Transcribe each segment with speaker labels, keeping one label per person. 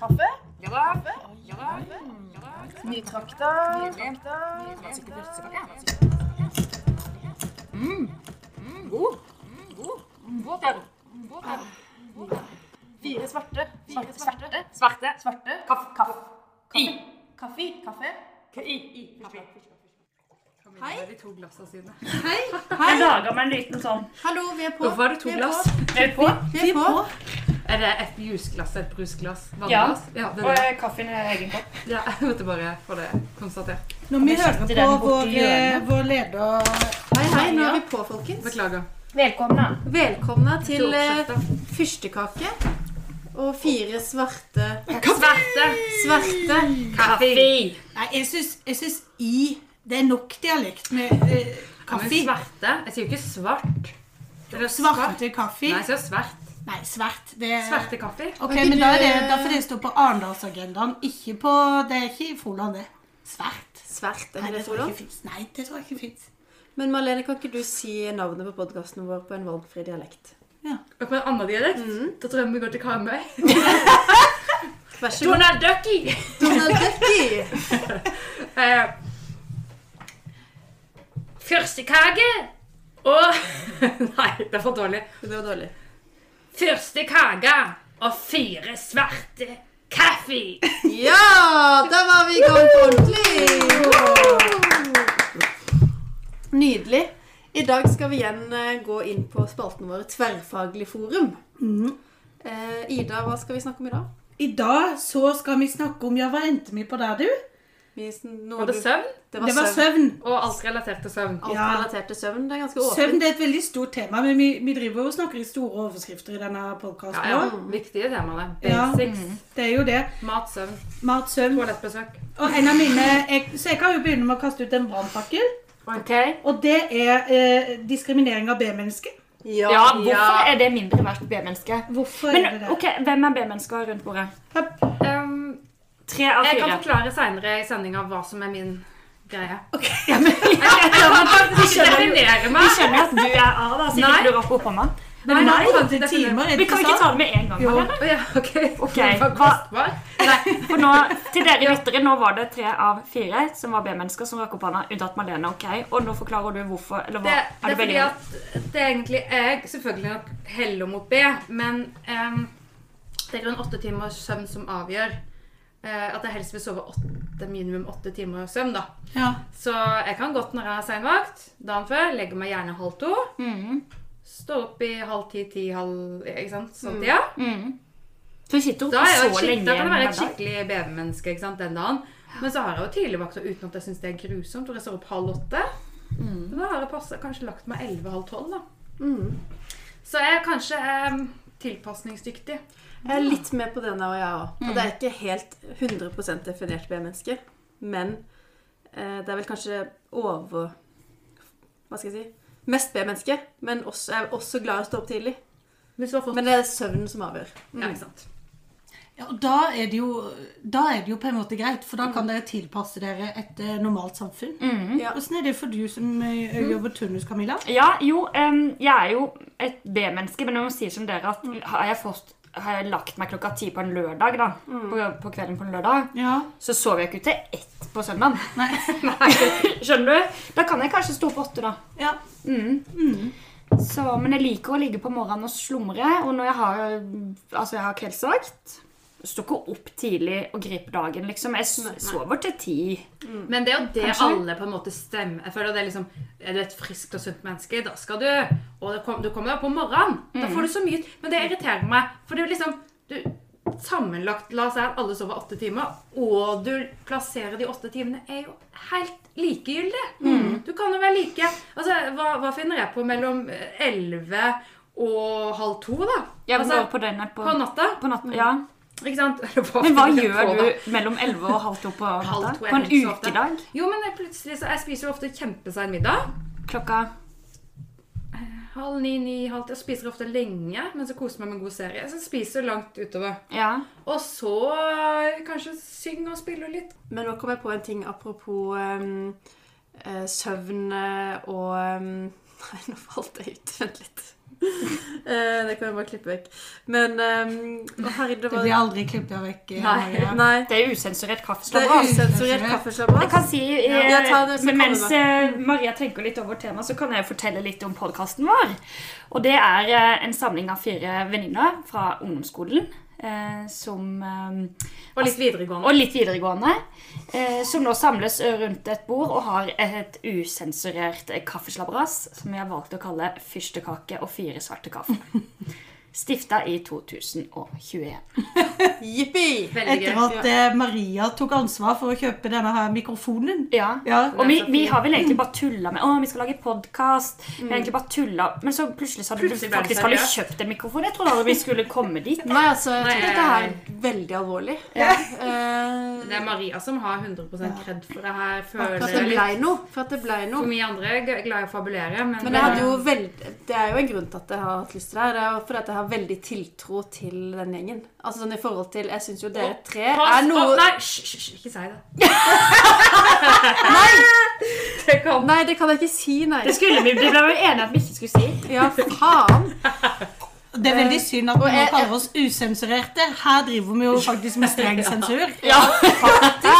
Speaker 1: Kaffe?
Speaker 2: Ja da.
Speaker 1: Kaffe?
Speaker 2: Ja da. Ja da.
Speaker 1: Nytrakta? Nytrakta?
Speaker 2: Mm. God. Mm. God. Mm. Våt er den. Våt er den.
Speaker 1: Fire svarte. Svarte? Svarte?
Speaker 2: Svarte.
Speaker 1: Svarte?
Speaker 2: Kaff. Kaff. I.
Speaker 1: Kaffe? Kaffe?
Speaker 2: K- I. I. Kaffe.
Speaker 3: Hei.
Speaker 4: Jeg
Speaker 3: Hei.
Speaker 4: laga meg en liten sånn.
Speaker 3: Hallo, vi er på.
Speaker 2: Hvorfor har du to
Speaker 3: Vi er
Speaker 2: glass?
Speaker 3: på.
Speaker 4: Er du på?
Speaker 3: Vi er på.
Speaker 2: Er det et jusglass, et brusglass,
Speaker 4: Ja.
Speaker 2: vannglass? Ja. det
Speaker 4: Og
Speaker 2: er det.
Speaker 4: eh, kaffen er egen kopp.
Speaker 2: ja. Jeg måtte bare få det konstatert.
Speaker 3: Når vi
Speaker 4: Jeg
Speaker 3: hører
Speaker 4: setter
Speaker 3: på
Speaker 4: den borti
Speaker 3: vår, eh,
Speaker 4: hjørnet.
Speaker 3: vår leder Hei, hei, nå er vi på, folkens.
Speaker 2: Beklager.
Speaker 4: Velkomna.
Speaker 3: Velkomna til eh,
Speaker 2: oppsettet.
Speaker 3: fyrstekake og fire svarte
Speaker 2: Svarte.
Speaker 3: Svarte.
Speaker 2: Kaffe.
Speaker 3: Nei, jeg syns, jeg syns i Det er nok dialekt med eh,
Speaker 2: Men
Speaker 3: kaffe.
Speaker 2: svarte? Jeg sier jo ikke svart. Eller svart.
Speaker 3: Svarte kaffe.
Speaker 2: Nei, jeg sier svart.
Speaker 3: Nei, svart. Det er
Speaker 2: Svarte kaffe.
Speaker 3: Ok, men da er det derfor det står på Arendalsagendaen, ikke på Det er ikke i Froland, det. Svart.
Speaker 5: Svert, er
Speaker 3: Nei,
Speaker 5: ikke
Speaker 3: det
Speaker 5: det
Speaker 3: tror jeg
Speaker 5: Froland?
Speaker 3: ikke fins. Nei, det tror jeg ikke fins.
Speaker 5: Men Marlene, kan ikke du si navnet på podkasten vår på en valgfri dialekt?
Speaker 2: Og på en annen dialekt, da tror jeg vi går til Karmøy.
Speaker 5: Vær så god.
Speaker 4: Donald Ducky.
Speaker 5: Donald Ducky!
Speaker 4: Eh, Fyrstekake og Nei, det er for dårlig.
Speaker 5: Det var dårlig.
Speaker 4: Fyrstekake og fire svarte kaffe.
Speaker 5: Ja! Da var vi i gang på ordentlig! Nydelig. I dag skal vi igjen eh, gå inn på spalten vår Tverrfaglig forum.
Speaker 3: Mm-hmm.
Speaker 5: Eh, Ida, hva skal vi snakke om i dag?
Speaker 3: I dag så skal vi snakke om Ja, hva endte vi på der, du?
Speaker 5: Vi sn- nå-
Speaker 2: Var det søvn?
Speaker 5: Det
Speaker 3: Det var
Speaker 5: var søvn.
Speaker 3: søvn.
Speaker 2: Og alt relatert til søvn.
Speaker 5: Alt
Speaker 3: Ja.
Speaker 5: relatert til søvn. Det er ganske
Speaker 3: Søvn
Speaker 5: åpent.
Speaker 3: det er et veldig stort tema, men vi, vi driver jo og snakker i store overskrifter i denne podkasten
Speaker 2: Ja, ja.
Speaker 3: nå.
Speaker 2: Viktige temaene.
Speaker 3: Ja.
Speaker 2: Basics.
Speaker 3: Det er jo det.
Speaker 2: Mat, søvn,
Speaker 3: Mat, søvn.
Speaker 2: toalettbesøk.
Speaker 3: Og en av mine jeg, Så jeg kan jo begynne med å kaste ut en brannfakkel.
Speaker 4: Ok.
Speaker 3: Og det er eh, diskriminering av B-mennesket.
Speaker 5: Ja,
Speaker 4: Ja, hvorfor er det mindre verdt B-menneske?
Speaker 3: Hvorfor
Speaker 4: Men
Speaker 3: er det det?
Speaker 4: ok, hvem er B-mennesker rundt bordet?
Speaker 2: Um,
Speaker 4: Tre av
Speaker 2: jeg kan
Speaker 4: fire.
Speaker 2: forklare seinere i sendinga hva som er min greie.
Speaker 4: Ja, men,
Speaker 2: Jeg kan faktisk ikke definere
Speaker 4: vi
Speaker 2: meg.
Speaker 4: skjønner jo at du er A, da, siden
Speaker 2: Nei.
Speaker 4: du rakk opp hånda.
Speaker 3: Men
Speaker 2: Nei,
Speaker 3: vi har
Speaker 2: nei,
Speaker 3: jo
Speaker 2: det er
Speaker 3: hatt timer,
Speaker 4: Vi kan ikke
Speaker 3: sant?
Speaker 4: ta det med en gang. Marianne.
Speaker 2: Å ja, OK.
Speaker 4: Ok,
Speaker 2: Det var
Speaker 4: hva-
Speaker 2: kostbar.
Speaker 4: For nå, til dere lyttere, nå var det tre av fire som var B-mennesker som rakk opp hånda, unntatt Malene. ok? Og nå forklarer du hvorfor. eller
Speaker 2: Det, det
Speaker 4: hva?
Speaker 2: er
Speaker 4: du
Speaker 2: fordi
Speaker 4: veldig-
Speaker 2: at det er egentlig jeg selvfølgelig nok heller mot B, men em, det er grunn åtte timers søvn som avgjør. eh, at jeg helst vil sove åtte, minimum åtte timer søvn, da.
Speaker 3: Ja.
Speaker 2: Så jeg kan godt når jeg har seinvakt dagen før. Legger meg gjerne halv to.
Speaker 4: Mhm,
Speaker 2: Står opp i halv ti, ti, halv Ikke sant? Sånn tida.
Speaker 4: mhm. Så sitter hun
Speaker 2: Da, er jeg jo
Speaker 4: så
Speaker 2: et skikk-
Speaker 4: lenge
Speaker 2: da kan
Speaker 4: igjen
Speaker 2: det være et
Speaker 4: med deg.
Speaker 2: skikkelig bevemenneske ikke sant, den dagen. Men så har jeg jo tidligvakter uten at jeg syns det er grusomt. Og jeg står opp halv åtte.
Speaker 4: Mm.
Speaker 2: Men Da har jeg passet, kanskje lagt meg elleve-halv-tolv, da. Så jeg er kanskje eh, tilpasningsdyktig.
Speaker 5: Jeg er litt med på den der og jeg òg. Og det er ikke helt 100 definert B-menneske. Men eh, det er vel kanskje over Hva skal jeg si Mest B-menneske. Men også, jeg er også glad i å stå opp tidlig.
Speaker 2: Hvis du har fått
Speaker 5: Men det er søvnen som avgjør.
Speaker 4: Mm.
Speaker 2: Ja, ikke sant.
Speaker 3: Ja, og da er, det jo, da er det jo på en måte greit, for da kan dere tilpasse dere et eh, normalt samfunn.
Speaker 4: Mhm.
Speaker 5: Ja.
Speaker 3: Åssen er det for du som eh, jobber turnus, Camilla?
Speaker 4: Ja, jo, em, jeg er jo et B-menneske, men jeg må si som dere at har jeg, fått, har jeg lagt meg klokka ti på en lørdag, da,
Speaker 2: Mm.
Speaker 4: på, på kvelden på en lørdag,
Speaker 3: Ja.
Speaker 4: så sover jeg ikke til ett på søndag.
Speaker 3: Nei.
Speaker 4: Skjønner du? Da kan jeg kanskje stå opp åtte, da.
Speaker 3: Ja.
Speaker 4: Mm. Så, men jeg liker å ligge på morgenen og slumre. Og når jeg har, altså jeg har kveldsvakt Står ikke opp tidlig og griper dagen, liksom. Jeg s- sover til ti.
Speaker 2: Men det er jo det
Speaker 4: Kanskje.
Speaker 2: alle på en måte stemmer Jeg føler det Er liksom, er du et friskt og sunt menneske, da skal du Og det kom, du kommer deg opp om morgenen.
Speaker 4: Mm.
Speaker 2: Da får du så mye Men det irriterer meg. For det er jo liksom du, Sammenlagt, la oss si at alle sover åtte timer, og du plasserer de åtte timene, er jo helt likegyldig.
Speaker 4: Mm.
Speaker 2: Du kan jo være like Altså, hva, hva finner jeg på mellom eh, elleve og halv to, da?
Speaker 4: Jeg
Speaker 2: altså,
Speaker 4: går på denne på,
Speaker 2: på natta.
Speaker 4: på natta. Ja.
Speaker 2: Ikke sant? Eller
Speaker 4: Men hva
Speaker 2: finner jeg
Speaker 4: gjør
Speaker 2: på, da?
Speaker 4: du mellom elleve og halv to på
Speaker 2: Halv
Speaker 4: natta?
Speaker 2: to er
Speaker 4: På en
Speaker 2: helt så ofte.
Speaker 4: ukedag?
Speaker 2: Jo, men jeg plutselig så Jeg spiser jo ofte kjempesein middag.
Speaker 4: Klokka
Speaker 2: Halv ni, ni, halv ti. Jeg spiser ofte lenge, men så koser jeg meg med en god serie. Så jeg spiser langt utover.
Speaker 4: Ja.
Speaker 2: Og så eh, kanskje synge og spille litt.
Speaker 5: Men nå kom jeg på en ting apropos ehm, eh, søvn eh, og ehm, Nei, nå falt jeg ut. Vent litt. Eh, det kan jeg bare klippe vekk. Men eh, Å, herregud, det
Speaker 3: Det
Speaker 5: var
Speaker 3: blir aldri klippet vekk. eh,
Speaker 4: Nei.
Speaker 3: Maria.
Speaker 5: Nei.
Speaker 4: Det er usensurert
Speaker 5: Det
Speaker 4: kaffeslabberas.
Speaker 5: er usensurert
Speaker 4: Jeg
Speaker 5: kaffeslabberas.
Speaker 4: kan si, eh,
Speaker 5: Ja, jeg tar det, men
Speaker 4: Mens
Speaker 5: kom med
Speaker 4: eh, Maria tenker litt over temaet, så kan jeg fortelle litt om podkasten vår. Og Det er eh, en samling av fire venninner fra ungdomsskolen. eh, Som, eh,
Speaker 2: Og litt videregående.
Speaker 4: og litt videregående. eh, Som nå samles rundt et bord og har et usensurert eh, kaffeslabberas som vi har valgt å kalle 'Fyrstekake og fire svarte kaffe'. Stifta i 2021.
Speaker 5: Jippi!
Speaker 2: Veldig
Speaker 3: Etter
Speaker 2: gøy.
Speaker 3: at eh, Maria tok ansvar for å kjøpe denne her mikrofonen.
Speaker 4: Ja.
Speaker 3: Ja.
Speaker 4: Og vi, vi har vel egentlig bare tulla med Å, vi skal lage podkast. Vi har egentlig bare tulla Men så plutselig så hadde
Speaker 2: Plutselig
Speaker 4: du
Speaker 2: ble det
Speaker 4: faktisk hadde
Speaker 2: seriøst.
Speaker 4: kjøpt en mikrofon. Jeg trodde aldri vi skulle komme dit.
Speaker 5: Nei, altså, jeg
Speaker 2: Nei,
Speaker 5: tror dette her er veldig alvorlig.
Speaker 4: Ja.
Speaker 5: Eh,
Speaker 2: Det er Maria som har 100 kred for det her.
Speaker 5: for
Speaker 2: Føler
Speaker 5: at det
Speaker 2: litt
Speaker 5: blei noe. For at det blei
Speaker 2: For
Speaker 5: noe.
Speaker 2: mye andre er g- glad i å fabulere, men,
Speaker 5: Men jeg hadde jo veld... det er jo en grunn til at jeg har hatt lyst til det her. Det er jo fordi at jeg har veldig tiltro til den gjengen. Altså sånn i forhold til Jeg syns jo dere tre
Speaker 2: Pass
Speaker 5: er
Speaker 2: på-
Speaker 5: noe
Speaker 2: Nei, hysj, hysj, hysj, ikke si det. Det kan
Speaker 5: Nei, det kan jeg ikke si, nei.
Speaker 4: Det skulle vi Det ble vi enige at vi ikke skulle si.
Speaker 5: Ja, faen.
Speaker 3: Det er veldig synd at vi nå
Speaker 5: jeg-
Speaker 3: kaller oss usensurerte. Her driver vi jo faktisk med streng sensur.
Speaker 4: Ja.
Speaker 3: Det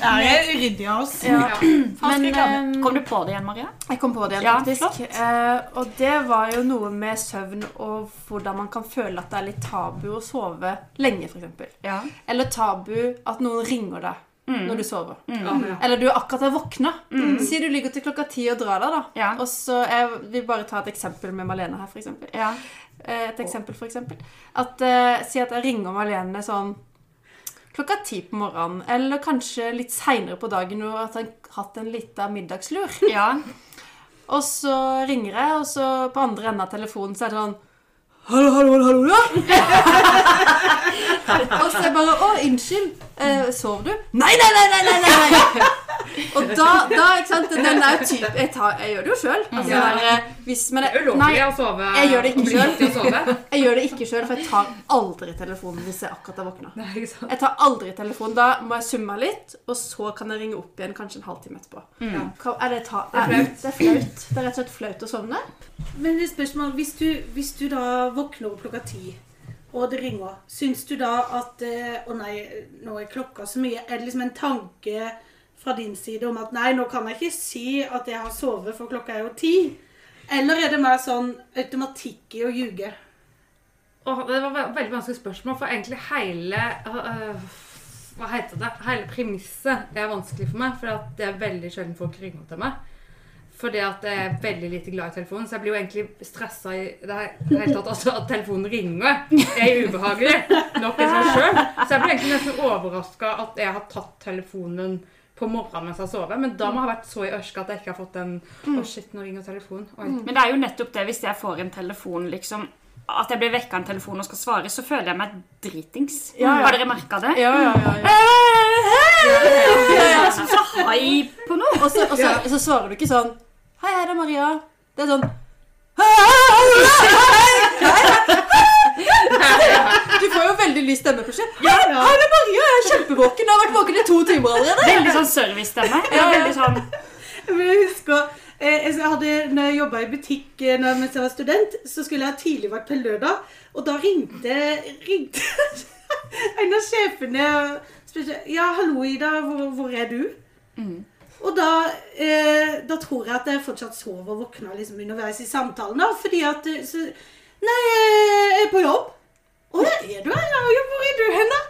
Speaker 3: er uryddig av oss.
Speaker 2: Ja.
Speaker 3: Fast
Speaker 5: Men
Speaker 3: reklame.
Speaker 5: eh,
Speaker 4: Kom du på det igjen, Maria?
Speaker 5: Jeg kom på det igjen,
Speaker 4: Ja,
Speaker 5: faktisk. Eh, og det var jo noe med søvn og hvordan man kan føle at det er litt tabu å sove lenge, f.eks.
Speaker 4: Ja.
Speaker 5: Eller tabu at noen ringer deg når du sover.
Speaker 2: Å, ja.
Speaker 5: Eller du er akkurat har våkna. Si du ligger til klokka ti og drar deg, da.
Speaker 4: Mm. Ja.
Speaker 5: Og så jeg vil bare ta et eksempel med Malene her, f.eks.
Speaker 4: ja.
Speaker 5: Eh, et eksempel, for eksempel. At, eh, si at jeg ringer Malene sånn klokka ti på morgenen, eller kanskje litt seinere på dagen, og at jeg har hatt en lita middagslur.
Speaker 4: ja.
Speaker 5: Og så ringer jeg, og så på andre enden av telefonen så er det sånn Hallo, hallo, hallo, hallo, ja? og så er jeg bare Å, unnskyld. Eh, sov du? Nei, nei, nei, nei! nei, nei, nei. og da, da, ikke sant Den er jo typ Jeg, tar, jeg gjør det jo sjøl. Altså,
Speaker 2: Ja.
Speaker 5: den der, eh, hvis men
Speaker 2: Det er
Speaker 5: jeg-
Speaker 2: ulovlig
Speaker 5: Nei,
Speaker 2: å sove.
Speaker 5: jeg gjør det ikke
Speaker 2: å bli
Speaker 5: selv.
Speaker 2: gitt i å sove.
Speaker 5: jeg gjør det ikke sjøl, for jeg tar aldri telefonen hvis jeg akkurat har våkna.
Speaker 2: Nei, ikke sant?
Speaker 5: Jeg tar aldri telefonen. Da må jeg summe meg litt, og så kan jeg ringe opp igjen kanskje en halvtime etterpå.
Speaker 2: Mm.
Speaker 5: Kan- Er det, ta, er, det er flaut. Det er rett og slett flaut å sovne.
Speaker 3: Men et spørsmål, hvis du, hvis du da våkner opp klokka ti, og det ringer, syns du da at eh, Å nei, nå er klokka så mye. Er det liksom en tanke fra din side om at nei, nå kan jeg ikke si at jeg har sovet, for klokka er jo ti? Eller er det mer sånn automatikk i å ljuge?
Speaker 2: Åh, det var ve- veldig vanskelig spørsmål, for egentlig hele øh, Hva heter det? Hele premisset er vanskelig for meg, for at det er veldig sjelden folk ringer til meg. Fordi at jeg er veldig lite glad i telefonen, så jeg blir jo egentlig stressa i det he- det hele tatt. Altså at telefonen ringer, er ubehagelig nok i seg sjøl. Så jeg blir egentlig nesten overraska at jeg har tatt telefonen på morgenen mens jeg sover. Men da må jeg ha vært så i ørska at jeg ikke har fått den Å, shit, nå ringer telefonen. Oi.
Speaker 4: Men det er jo nettopp det, hvis jeg får en telefon, liksom At jeg blir vekka av en telefon og skal svare, så føler jeg meg dritings.
Speaker 5: Ja, ja.
Speaker 4: Har dere merka det?
Speaker 5: Ja, ja, ja, ja.
Speaker 4: Jeg er liksom så high på noe.
Speaker 5: Og så, og så, så svarer du ikke sånn Hei, hei, det er Maria. Det er sånn «Hei, hei, hei, hei, hei, hei!» Du får jo veldig lys stemme plutselig. Ja, hei, det er Maria. Jeg er kjempevåken. Jeg har vært våken i to timer allerede.
Speaker 4: Veldig sånn servicestemme. Ja, veldig sånn
Speaker 3: Men jeg husker eh, jeg hadde, når jeg jobba i butikk eh, når- mens jeg var student, så skulle jeg ha tidligvakt på lørdag. Og da ringte, ringte en av sjefene og spurte Ja, hallo, Ida, hvor, hvor er du? Og da, eh, da tror jeg at jeg fortsatt sov og våkna liksom underveis i samtalen. da, fordi at eh, så, Nei, eh, jeg er på jobb. Å, ja, er du her? Ja, hvor er du hen, da?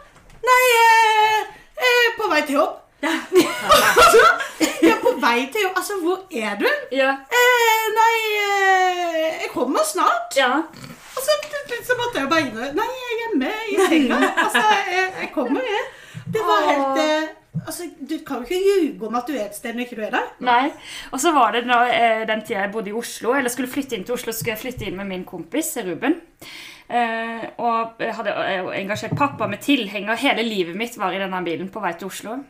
Speaker 3: Nei, eh, jeg er på vei til jobb. Altså, jeg er på vei til jobb. Altså, hvor er du?
Speaker 4: Ja.
Speaker 3: Eh, nei, eh, jeg kommer snart.
Speaker 4: ja.
Speaker 3: Og så plutselig så måtte jeg bare innrømme Nei, jeg er hjemme i senga. Altså, jeg, jeg kommer, jeg. Det var helt eh, Altså, Du kan jo ikke ljuge om at du er et sted når ikke du er der.
Speaker 4: Nei. Og så var det når, eh, den tida jeg bodde i Oslo, eller skulle flytte inn til Oslo, så skulle jeg flytte inn med min kompis Ruben. Eh, og jeg hadde eh, engasjert pappa med tilhenger. Hele livet mitt var i denne bilen på vei til Oslo.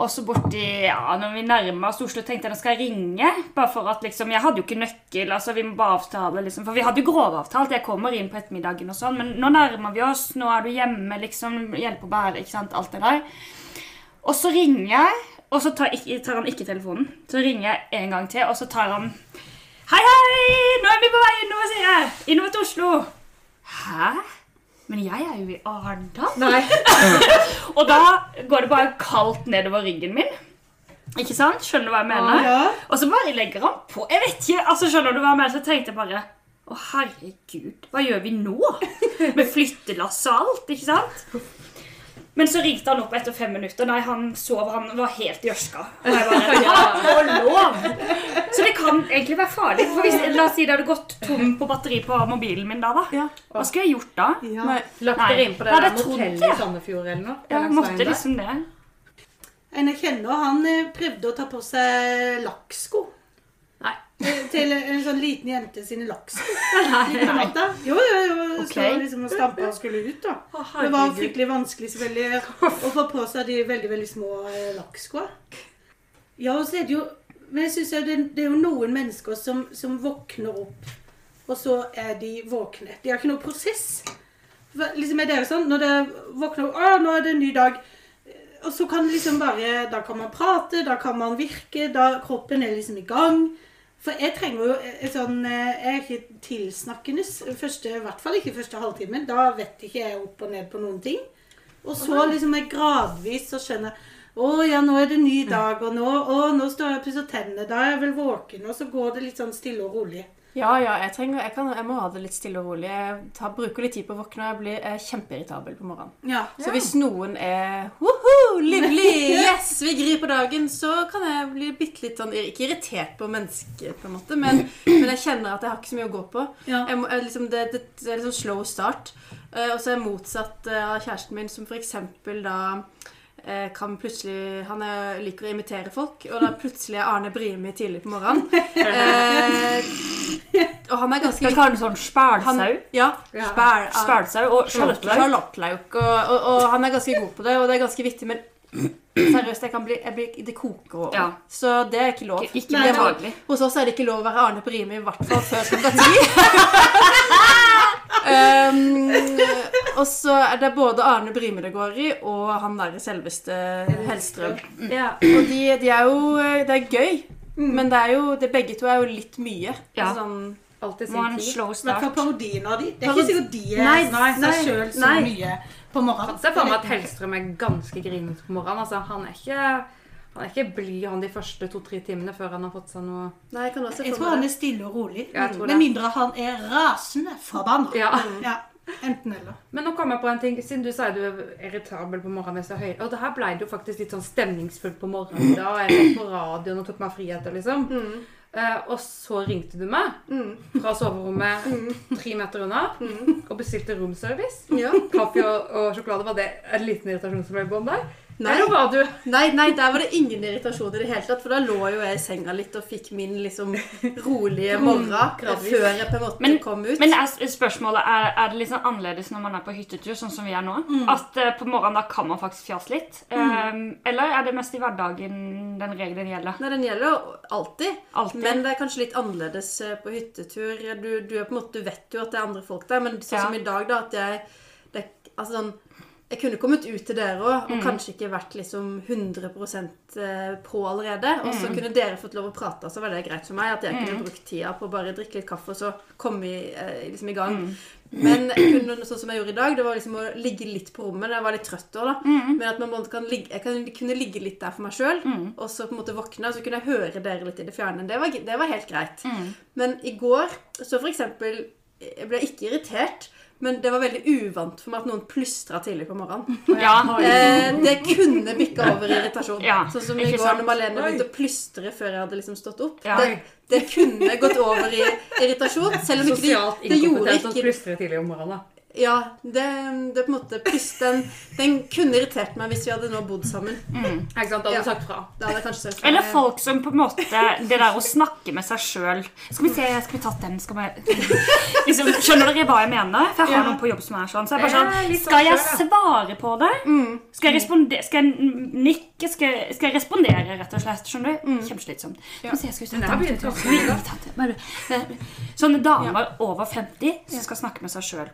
Speaker 4: Og så borti, ja, når vi nærma oss Oslo, tenkte jeg nå skal jeg ringe. Bare for at liksom, Jeg hadde jo ikke nøkkel, altså vi må bare avtale, liksom. For vi hadde jo grovavtalt. Jeg kommer inn på ettermiddagen og sånn. Men nå nærmer vi oss, nå er du hjemme, liksom. Hjelpe å bære, ikke sant. Alt det der. Og så ringer jeg, og så tar, ikke, tar han ikke telefonen. Så ringer jeg en gang til, og så tar han Hei, hei! Nå er vi på vei innover, sier jeg. Innover til Oslo. Hæ? Men jeg er jo i Arendal.
Speaker 5: Nei.
Speaker 4: Og da går det bare kaldt nedover ryggen min. Ikke sant? Skjønner du hva jeg mener?
Speaker 3: Ja.
Speaker 4: Og så bare legger han på. Jeg vet ikke, altså skjønner du hva jeg mener? Så tenkte jeg bare, å herregud, hva gjør vi nå? Med flyttelass og alt, ikke sant? Men så ringte han opp etter fem minutter. Nei, han sov, han var helt gjørska. Og jeg bare, ja, og lov! Så det kan egentlig være farlig. For hvis, la oss si det hadde gått tom på batteri på mobilen min da, da.
Speaker 5: Ja.
Speaker 4: Hva skulle jeg gjort da?
Speaker 3: Ja.
Speaker 5: Nei.
Speaker 2: Lagt
Speaker 4: Nei.
Speaker 2: dere inn på det
Speaker 4: Nei,
Speaker 2: der
Speaker 4: det trodde
Speaker 2: motellet i
Speaker 4: jeg.
Speaker 2: Sandefjord eller noe?
Speaker 4: Jeg
Speaker 2: Langs veien
Speaker 4: måtte
Speaker 2: der.
Speaker 4: liksom det.
Speaker 3: En jeg kjenner, han eh, prøvde å ta på seg lakksko.
Speaker 2: Nei.
Speaker 3: Eh, Til en sånn liten jente sine lakksko. I privata. Jo, jo, jo. Så
Speaker 4: Ok.
Speaker 3: liksom og stampa og skulle ut, da.
Speaker 2: Å,
Speaker 3: Det var
Speaker 2: herregud.
Speaker 3: fryktelig vanskelig selvfølgelig å få på seg de veldig, veldig små eh, lakkskoa. Ja, og så er det jo Men jeg syns det, det er jo noen mennesker som, som våkner opp, og så er de våkne. De har ikke noe prosess. Hva- Liksom er dere sånn, Når dere våkner opp 'Å, nå er det en ny dag.' Og så kan liksom bare Da kan man prate, da kan man virke, da kroppen er liksom i gang. For jeg trenger jo et sånn eh, Jeg er ikke tilsnakkende. Første, I hvert fall ikke første halvtimen. Da vet ikke jeg opp og ned på noen ting. Og så liksom jeg gradvis så skjønner jeg, Å ja, nå er det ny
Speaker 2: Mm.
Speaker 3: dag, og nå, å, nå står jeg og pusser tennene. Da er jeg vel våken, og så går det litt sånn stille og rolig.
Speaker 5: Ja, ja, jeg trenger Jeg, kan, jeg må ha det litt stille og rolig. Jeg tar, bruker litt tid på å våkne, og jeg blir eh, kjempeirritabel på morgenen.
Speaker 3: Ja.
Speaker 5: Så hvis noen er Woho, livlig! Yes, vi griper dagen! Så kan jeg bli bitte litt sånn Ikke irritert på mennesket, på en måte, men, men jeg kjenner at jeg har ikke så mye å gå på.
Speaker 3: Ja.
Speaker 5: Jeg må, jeg, liksom, det, det, det er liksom slow start. Eh, og så er jeg motsatt eh, av kjæresten min, som for eksempel da eh, kan plutselig Han er, liker å imitere folk, og da plutselig er Arne Brimi tidlig på morgenen. Eh, og han er ganske
Speaker 4: Skal vi kalle den sånn
Speaker 5: han,
Speaker 4: spælsau?
Speaker 5: Ja. Spær,
Speaker 4: Spælsau og
Speaker 5: Charlottelauk.
Speaker 4: charlottelauk.
Speaker 5: Og, og, og han er ganske god på det, og det er ganske vittig, men seriøst, jeg kan bli, jeg blir, det koker over.
Speaker 4: Ja.
Speaker 5: Så det er ikke lov.
Speaker 4: Ikke
Speaker 5: Nei, det må-
Speaker 4: behagelig.
Speaker 5: Hos oss er det ikke lov å være Arne på Rimi, i hvert fall før klokka ti. um, og så er det både Arne Brimi det går i, og han der selveste Hellstrøm.
Speaker 2: Mm.
Speaker 4: Ja.
Speaker 5: Og de, de er jo eh, Det er gøy,
Speaker 4: Mm.
Speaker 5: men det er jo, det, begge to er jo litt mye.
Speaker 4: Ja.
Speaker 5: Altså Sånn,
Speaker 2: Alt i
Speaker 4: Må ha
Speaker 2: sin
Speaker 4: en
Speaker 2: tid.
Speaker 4: slow
Speaker 3: I hvert
Speaker 4: start.
Speaker 3: fall parodien av de. Det
Speaker 5: Parodi-
Speaker 3: er ikke sikkert de er sånn,
Speaker 5: Nei, nei,
Speaker 3: seg sjøl så
Speaker 5: nei.
Speaker 3: mye på morgenen.
Speaker 2: Se for meg at Hellstrøm er ganske grinete på morgenen. Altså, han er ikke, han er ikke blid han de første to-tre timene før han har fått seg noe
Speaker 5: nei, jeg kan også
Speaker 3: Jeg
Speaker 5: få
Speaker 3: tror
Speaker 5: med
Speaker 3: han
Speaker 5: det.
Speaker 3: er stille og rolig.
Speaker 2: Ja, jeg tror
Speaker 3: Med
Speaker 2: det.
Speaker 3: mindre han er rasende forbanna.
Speaker 2: Ja.
Speaker 3: Ja, enten eller.
Speaker 2: Men nå kom jeg på en ting. Siden du sier du er irritabel på morgenen. Så høy. Og det her ble det jo faktisk litt sånn stemningsfullt på morgenen. Da og jeg satt på radioen og tok meg friheter, liksom.
Speaker 4: Mm.
Speaker 2: Eh, og så ringte du meg fra soverommet
Speaker 4: Mm.
Speaker 2: tre meter unna og bestilte roomservice.
Speaker 5: Ja.
Speaker 2: Kaffe og, og sjokolade. Var det en liten irritasjon som ble bånd der?
Speaker 5: Nei.
Speaker 2: Eller var du
Speaker 5: Nei, nei, der var det ingen irritasjon i det hele tatt. For da lå jo jeg i senga litt og fikk min liksom rolige morgen
Speaker 2: gradvis.
Speaker 5: før jeg på en måte
Speaker 4: Men-
Speaker 5: kom ut.
Speaker 4: Men er, spørsmålet er, er det litt sånn annerledes når man er på hyttetur, sånn som vi er nå?
Speaker 5: Mm.
Speaker 4: At eh, på morgenen da kan man faktisk fjase litt? Eh, eller er det mest i hverdagen den regelen gjelder?
Speaker 5: Nei, den gjelder jo alltid.
Speaker 4: Alltid.
Speaker 5: Men det er kanskje litt annerledes eh, på hyttetur. Du, du, er på en måte, du vet jo at det er andre folk der, men sånn
Speaker 4: Ja.
Speaker 5: som i dag, da, at jeg det, Altså sånn Jeg kunne kommet ut til dere òg,
Speaker 4: Mm.
Speaker 5: og kanskje ikke vært liksom 100 eh, på allerede. Og
Speaker 4: Mm.
Speaker 5: så kunne dere fått lov å prate, så var det greit for meg. At jeg kunne brukt tida på å bare drikke litt kaffe, og så komme i, eh, liksom i gang.
Speaker 4: Mm.
Speaker 5: Men jeg kunne, sånn som jeg gjorde i dag, det var liksom å ligge litt på rommet. Jeg var litt trøtt òg, da.
Speaker 4: Mm.
Speaker 5: Men at man på en måte kan ligge, jeg kan, kunne ligge litt der for meg sjøl,
Speaker 4: Mm.
Speaker 5: og så på en måte våkne, og så kunne jeg høre dere litt i det fjerne. Det var, det var helt greit.
Speaker 4: Mm.
Speaker 5: Men i går så for eksempel Jeg ble ikke irritert, men det var veldig uvant for meg at noen plystra tidlig på morgenen.
Speaker 4: Ja.
Speaker 5: Eh, det kunne bikka over i irritasjon.
Speaker 4: Ja,
Speaker 5: sånn som i går
Speaker 4: ikke sant?
Speaker 5: når Malene begynte å plystre før jeg hadde liksom stått opp.
Speaker 4: Ja.
Speaker 5: Det, det kunne gått over i irritasjon. Selv om ikke de,
Speaker 2: sosialt
Speaker 5: det gjorde
Speaker 2: inkompetent og
Speaker 5: ikke
Speaker 2: plystret tidlig om morgenen? da?
Speaker 5: ja, det, det på en måte plyst, den, den kunne irritert meg hvis vi hadde nå bodd sammen.
Speaker 2: Ikke sant? Da hadde du
Speaker 5: Ja.
Speaker 2: sagt fra.
Speaker 5: Da hadde jeg kanskje sagt
Speaker 4: Eller folk som på en måte Det der å snakke med seg sjøl Skal vi se, skal vi tatt den? Skal vi, liksom, skjønner dere hva jeg mener? For jeg har noen på jobb som er sånn. Så jeg bare
Speaker 2: Ja,
Speaker 4: sånn
Speaker 2: litt sånn
Speaker 4: Skal jeg
Speaker 2: selv,
Speaker 4: svare på det? Skal jeg, responde, skal jeg nikke? Skal jeg, skal jeg respondere, rett og slett? Skjønner du? Kjempeslitsomt. Skal vi se, skal vi
Speaker 2: Den
Speaker 4: tatt
Speaker 2: der
Speaker 4: den?
Speaker 2: blir
Speaker 4: Skal vi
Speaker 2: tøffere, da.
Speaker 4: tatt den? Bare- Sånne damer over 50 som skal snakke med seg sjøl.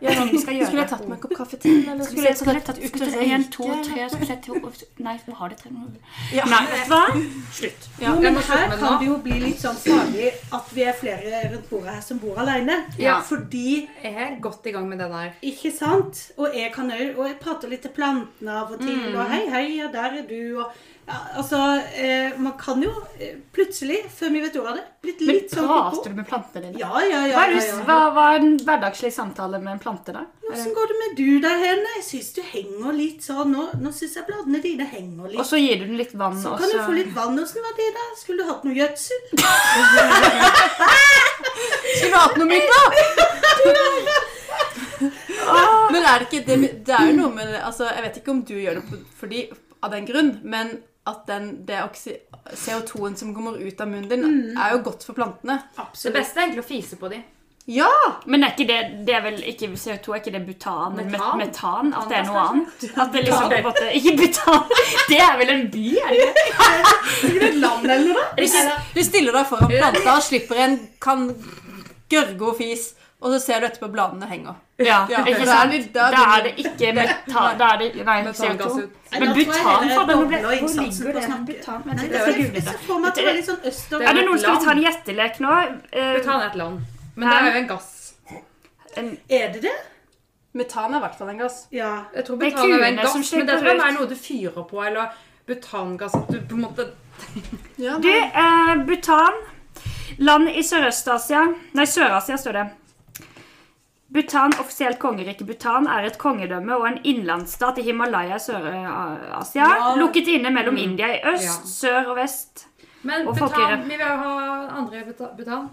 Speaker 4: skal
Speaker 5: Skulle
Speaker 4: gjøre.
Speaker 5: jeg tatt meg en kopp kaffe til? Eller
Speaker 4: Skulle jeg, skulle
Speaker 5: jeg
Speaker 4: jeg tatt
Speaker 5: ut
Speaker 4: ut
Speaker 5: og
Speaker 4: en,
Speaker 5: røyke,
Speaker 4: to, tre skulle jeg tatt- Nei, vi har det tre minutter.
Speaker 5: Ja.
Speaker 4: Nei, vet du hva? Slutt.
Speaker 5: Ja,
Speaker 3: Jo,
Speaker 2: jeg
Speaker 3: men
Speaker 2: må slutte
Speaker 3: her
Speaker 2: med det
Speaker 3: kan
Speaker 2: nå.
Speaker 3: det jo bli litt sånn farlig at vi er flere rundt bordet her som bor alene.
Speaker 2: Ja.
Speaker 3: Fordi
Speaker 2: Jeg er godt i gang med den her.
Speaker 3: Ikke sant? Og jeg kan jo, og jeg prater litt til plantene av og til,
Speaker 4: Mm.
Speaker 3: og hei, hei, og der er du, og ja, altså, eh, man kan jo eh, plutselig, før vi vet ordet av det, blitt
Speaker 4: Men
Speaker 3: litt sånn
Speaker 4: prater du med plantene dine?
Speaker 3: Ja, ja, ja.
Speaker 4: Hva er,
Speaker 3: ja,
Speaker 4: det-
Speaker 3: ja.
Speaker 4: hva, hva er en hverdagslig samtale med en plante, da?
Speaker 3: Hvordan går det med du der henne? Jeg synes du henger litt sånn, nå, nå synes jeg bladene dine henger
Speaker 4: Og
Speaker 3: litt.
Speaker 4: så gir du den litt vann.
Speaker 3: Så
Speaker 4: og
Speaker 3: kan du
Speaker 4: så-
Speaker 3: få litt vann, hvordan var det da? Skulle du hatt noe gjødsel?
Speaker 2: Skulle hatt noe mitt, da!
Speaker 5: Men er det ikke det, det er jo noe med det altså, Jeg vet ikke om du gjør det på- fordi, av den grunn, men at den, det oksy- CO2-en som kommer ut av munnen din, er jo godt for plantene.
Speaker 2: Det
Speaker 3: Absolutt.
Speaker 2: beste er egentlig å fise på dem.
Speaker 5: Ja!
Speaker 4: Men er ikke det, det er vel ikke CO2, er ikke det butan? Metan?
Speaker 2: Metan?
Speaker 4: metan at det er noe
Speaker 2: Metan,
Speaker 4: annet? At det liksom på en måte, Ikke butan! Det er vel en by, er det ikke?
Speaker 3: Er det et land eller noe da?
Speaker 5: Du, s- du stiller deg foran planta og slipper en kan gørrgo fis, og så ser du etterpå bladene henger.
Speaker 4: Ja,
Speaker 5: Ja,
Speaker 4: ikke
Speaker 5: da er
Speaker 4: sant?
Speaker 5: det- da
Speaker 4: Da
Speaker 5: er
Speaker 4: er det ikke metan Da er det nei, CO2.
Speaker 2: Metangass ut.
Speaker 3: Nei, da
Speaker 4: Men
Speaker 3: tror jeg
Speaker 4: butan,
Speaker 3: heller jeg
Speaker 4: fader, hvor ble-
Speaker 3: dobler
Speaker 4: hvor
Speaker 3: innsatsen
Speaker 4: ligger
Speaker 3: på
Speaker 4: det?
Speaker 3: snakken.
Speaker 4: Butan,
Speaker 3: Nei,
Speaker 4: vent
Speaker 3: det
Speaker 4: litt.
Speaker 3: er jeg så for meg at det var litt sånn øst og
Speaker 4: Er det noen Skal vi ta en gjettelek nå? Eh,
Speaker 2: Metan er et land. Men det er jo en gass.
Speaker 3: Er det det?
Speaker 5: Metan er i hvert fall en gass.
Speaker 3: Ja.
Speaker 2: Jeg tror
Speaker 4: Det er
Speaker 2: butan er jo en
Speaker 4: kuene som
Speaker 2: gass, men det
Speaker 4: slipper
Speaker 2: tror jeg
Speaker 4: ut.
Speaker 2: er noe du fyrer på, eller butangass at du på en måte
Speaker 5: Ja,
Speaker 4: Du, eh, Bhutan. Land i Sørøst-Asia Nei, Sør-Asia står det. Bhutan, offisielt kongerike Bhutan, er et kongedømme og en innlandsstat i Himalaya i Sør-Asia.
Speaker 5: Ja.
Speaker 4: Lukket inne mellom India i
Speaker 2: Mm. Ja.
Speaker 4: øst, sør og vest.
Speaker 2: Men
Speaker 4: Og
Speaker 2: butan,
Speaker 4: folkerett.
Speaker 2: vi vil jo ha andre buta- butan.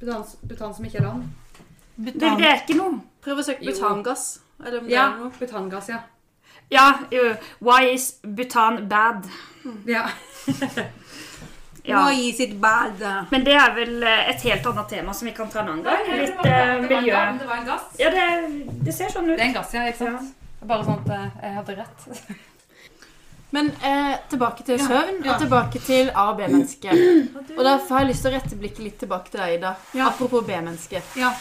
Speaker 2: Butan, butan som ikke er land.
Speaker 4: Du, det er ikke noe.
Speaker 5: Prøv å søke
Speaker 2: Jo.
Speaker 5: butangass. Eller om det
Speaker 2: Ja,
Speaker 5: er noe.
Speaker 2: butangass, ja.
Speaker 4: Ja, jo. Why is Bhutan bad?
Speaker 2: ja.
Speaker 4: Ja.
Speaker 5: Why is it bad?
Speaker 4: Men det er vel eh, et helt annet tema som vi kan ta en annen gang.
Speaker 2: Det
Speaker 4: Litt
Speaker 2: var-
Speaker 4: eh,
Speaker 2: det var en
Speaker 4: miljø...
Speaker 2: gass, men Det var en gass.
Speaker 4: Ja, det, det ser sånn
Speaker 2: Det
Speaker 4: ut.
Speaker 2: er en gass, ja. Ikke sant? Bare sånn at eh, jeg hadde rett.
Speaker 5: Men eh, tilbake til søvn, og tilbake til A- og B-mennesket. Og derfor har jeg lyst til å rette blikket litt tilbake til deg, Ida.
Speaker 2: Ja.
Speaker 5: Apropos B-mennesket.
Speaker 2: Ja.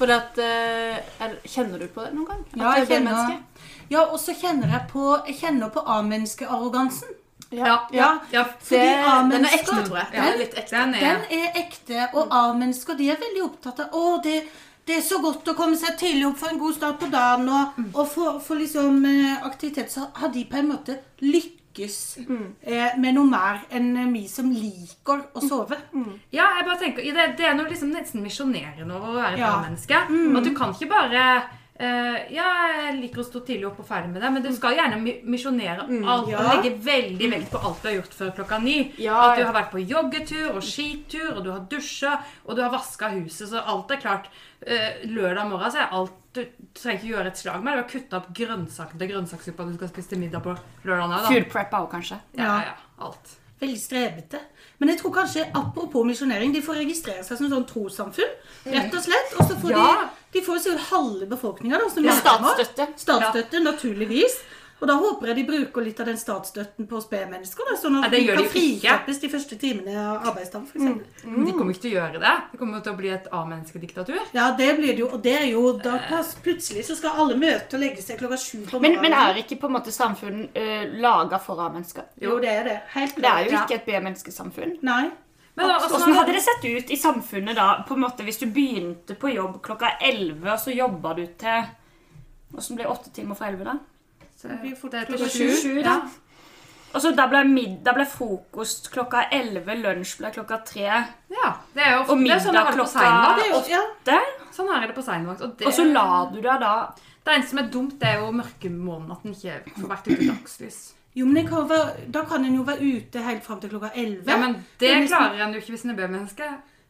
Speaker 5: For at eh, er, Kjenner du på det noen gang? At
Speaker 3: Ja,
Speaker 5: du er
Speaker 3: jeg kjenner-
Speaker 5: B-menneske?
Speaker 3: Ja, og så kjenner jeg på, jeg kjenner på A-menneskearrogansen.
Speaker 5: Ja.
Speaker 3: Ja,
Speaker 2: ja.
Speaker 5: Det,
Speaker 3: fordi
Speaker 5: den er ekte,
Speaker 3: A-mennesker
Speaker 5: tror jeg.
Speaker 2: Ja.
Speaker 5: Den er litt ekte.
Speaker 2: Den er
Speaker 3: Den er ekte, og A-mennesker de er veldig opptatt av Å, det, det er så godt å komme seg tidlig opp for en god start på dagen og, og få, få liksom eh, aktivitet. Så har de på en måte lykkes eh, med noe mer enn eh, vi som liker å sove.
Speaker 2: Ja, jeg bare tenker, det, det er noe liksom nesten misjonerende over å være et
Speaker 3: Ja. Mm.
Speaker 2: A-menneske. At du kan ikke bare eh, Ja, jeg liker å stå tidlig opp og ferdig med det, men du skal gjerne mi- misjonere alt og
Speaker 3: Mm. ja.
Speaker 2: legge veldig vekt på alt du har gjort før klokka ni.
Speaker 5: Ja,
Speaker 2: at du
Speaker 5: ja.
Speaker 2: har vært på joggetur og skitur, og du har dusja, og du har vaska huset, så alt er klart. Eh, lørdag morgen så er alt du trenger ikke gjøre et slag med. Du har kutta opp grønnsaker til grønnsakssuppa du skal spise til middag på lørdag. nå, Da.
Speaker 4: Food prep òg, kanskje.
Speaker 2: Ja, ja, alt.
Speaker 3: Veldig strebete. Men jeg tror kanskje, apropos misjonering, de får registrere seg som sånn trossamfunn. Rett og slett. Og så får
Speaker 4: Ja.
Speaker 3: de, de får jo sikkert halve befolkninga, da. Som
Speaker 4: Med
Speaker 3: medlemmer.
Speaker 4: statsstøtte.
Speaker 3: Statsstøtte, naturligvis. Og da håper jeg de bruker litt av den statsstøtten på spedmennesker. da, Sånn
Speaker 2: Nei,
Speaker 3: at
Speaker 2: det
Speaker 3: de
Speaker 2: gjør de
Speaker 3: kan
Speaker 2: jo ikke.
Speaker 3: frikjappes de første timene av arbeidsdagen, f.eks.
Speaker 2: Men
Speaker 4: Mm.
Speaker 2: de kommer ikke til å gjøre det. Det kommer til å bli et A-menneskediktatur.
Speaker 3: Ja, det blir det jo. Og det er jo da pass, plutselig så skal alle møte og legge seg klokka sju på
Speaker 4: Men,
Speaker 3: morgenen.
Speaker 4: men er ikke på en måte samfunn uh, laga for A-mennesker?
Speaker 3: Jo, det er det. Helt
Speaker 4: Det er jo
Speaker 3: klart.
Speaker 4: ikke et B-menneskesamfunn.
Speaker 3: Nei.
Speaker 2: Men altså-
Speaker 4: Hvordan hadde det sett ut i samfunnet da, på en måte hvis du begynte på jobb klokka 11, og så jobba du til Hvordan ble åtte timer fra 11, da?
Speaker 2: Så
Speaker 3: blir fort
Speaker 2: det er
Speaker 3: klokka
Speaker 2: til sju.
Speaker 4: da. Og så da ble, mid, da ble frokost klokka 11, lunsj ble klokka 3,
Speaker 2: Ja, det er jo
Speaker 4: Og
Speaker 2: det er sånn er
Speaker 4: middag
Speaker 2: det på
Speaker 4: klokka-
Speaker 3: Det
Speaker 2: seinvakt.
Speaker 3: er jo, ja.
Speaker 2: Sånn er det på seinvakt. Og, det-
Speaker 4: og så la du deg da
Speaker 2: det eneste som er dumt, det er jo mørkemåneden. At en ikke får vært ute i dagslys.
Speaker 3: Jo, men jeg kan jo være, da kan en jo være ute helt fram til klokka elleve.
Speaker 2: Ja, men det
Speaker 3: Det er nesten-
Speaker 2: klarer en jo ikke hvis en er B-menneske.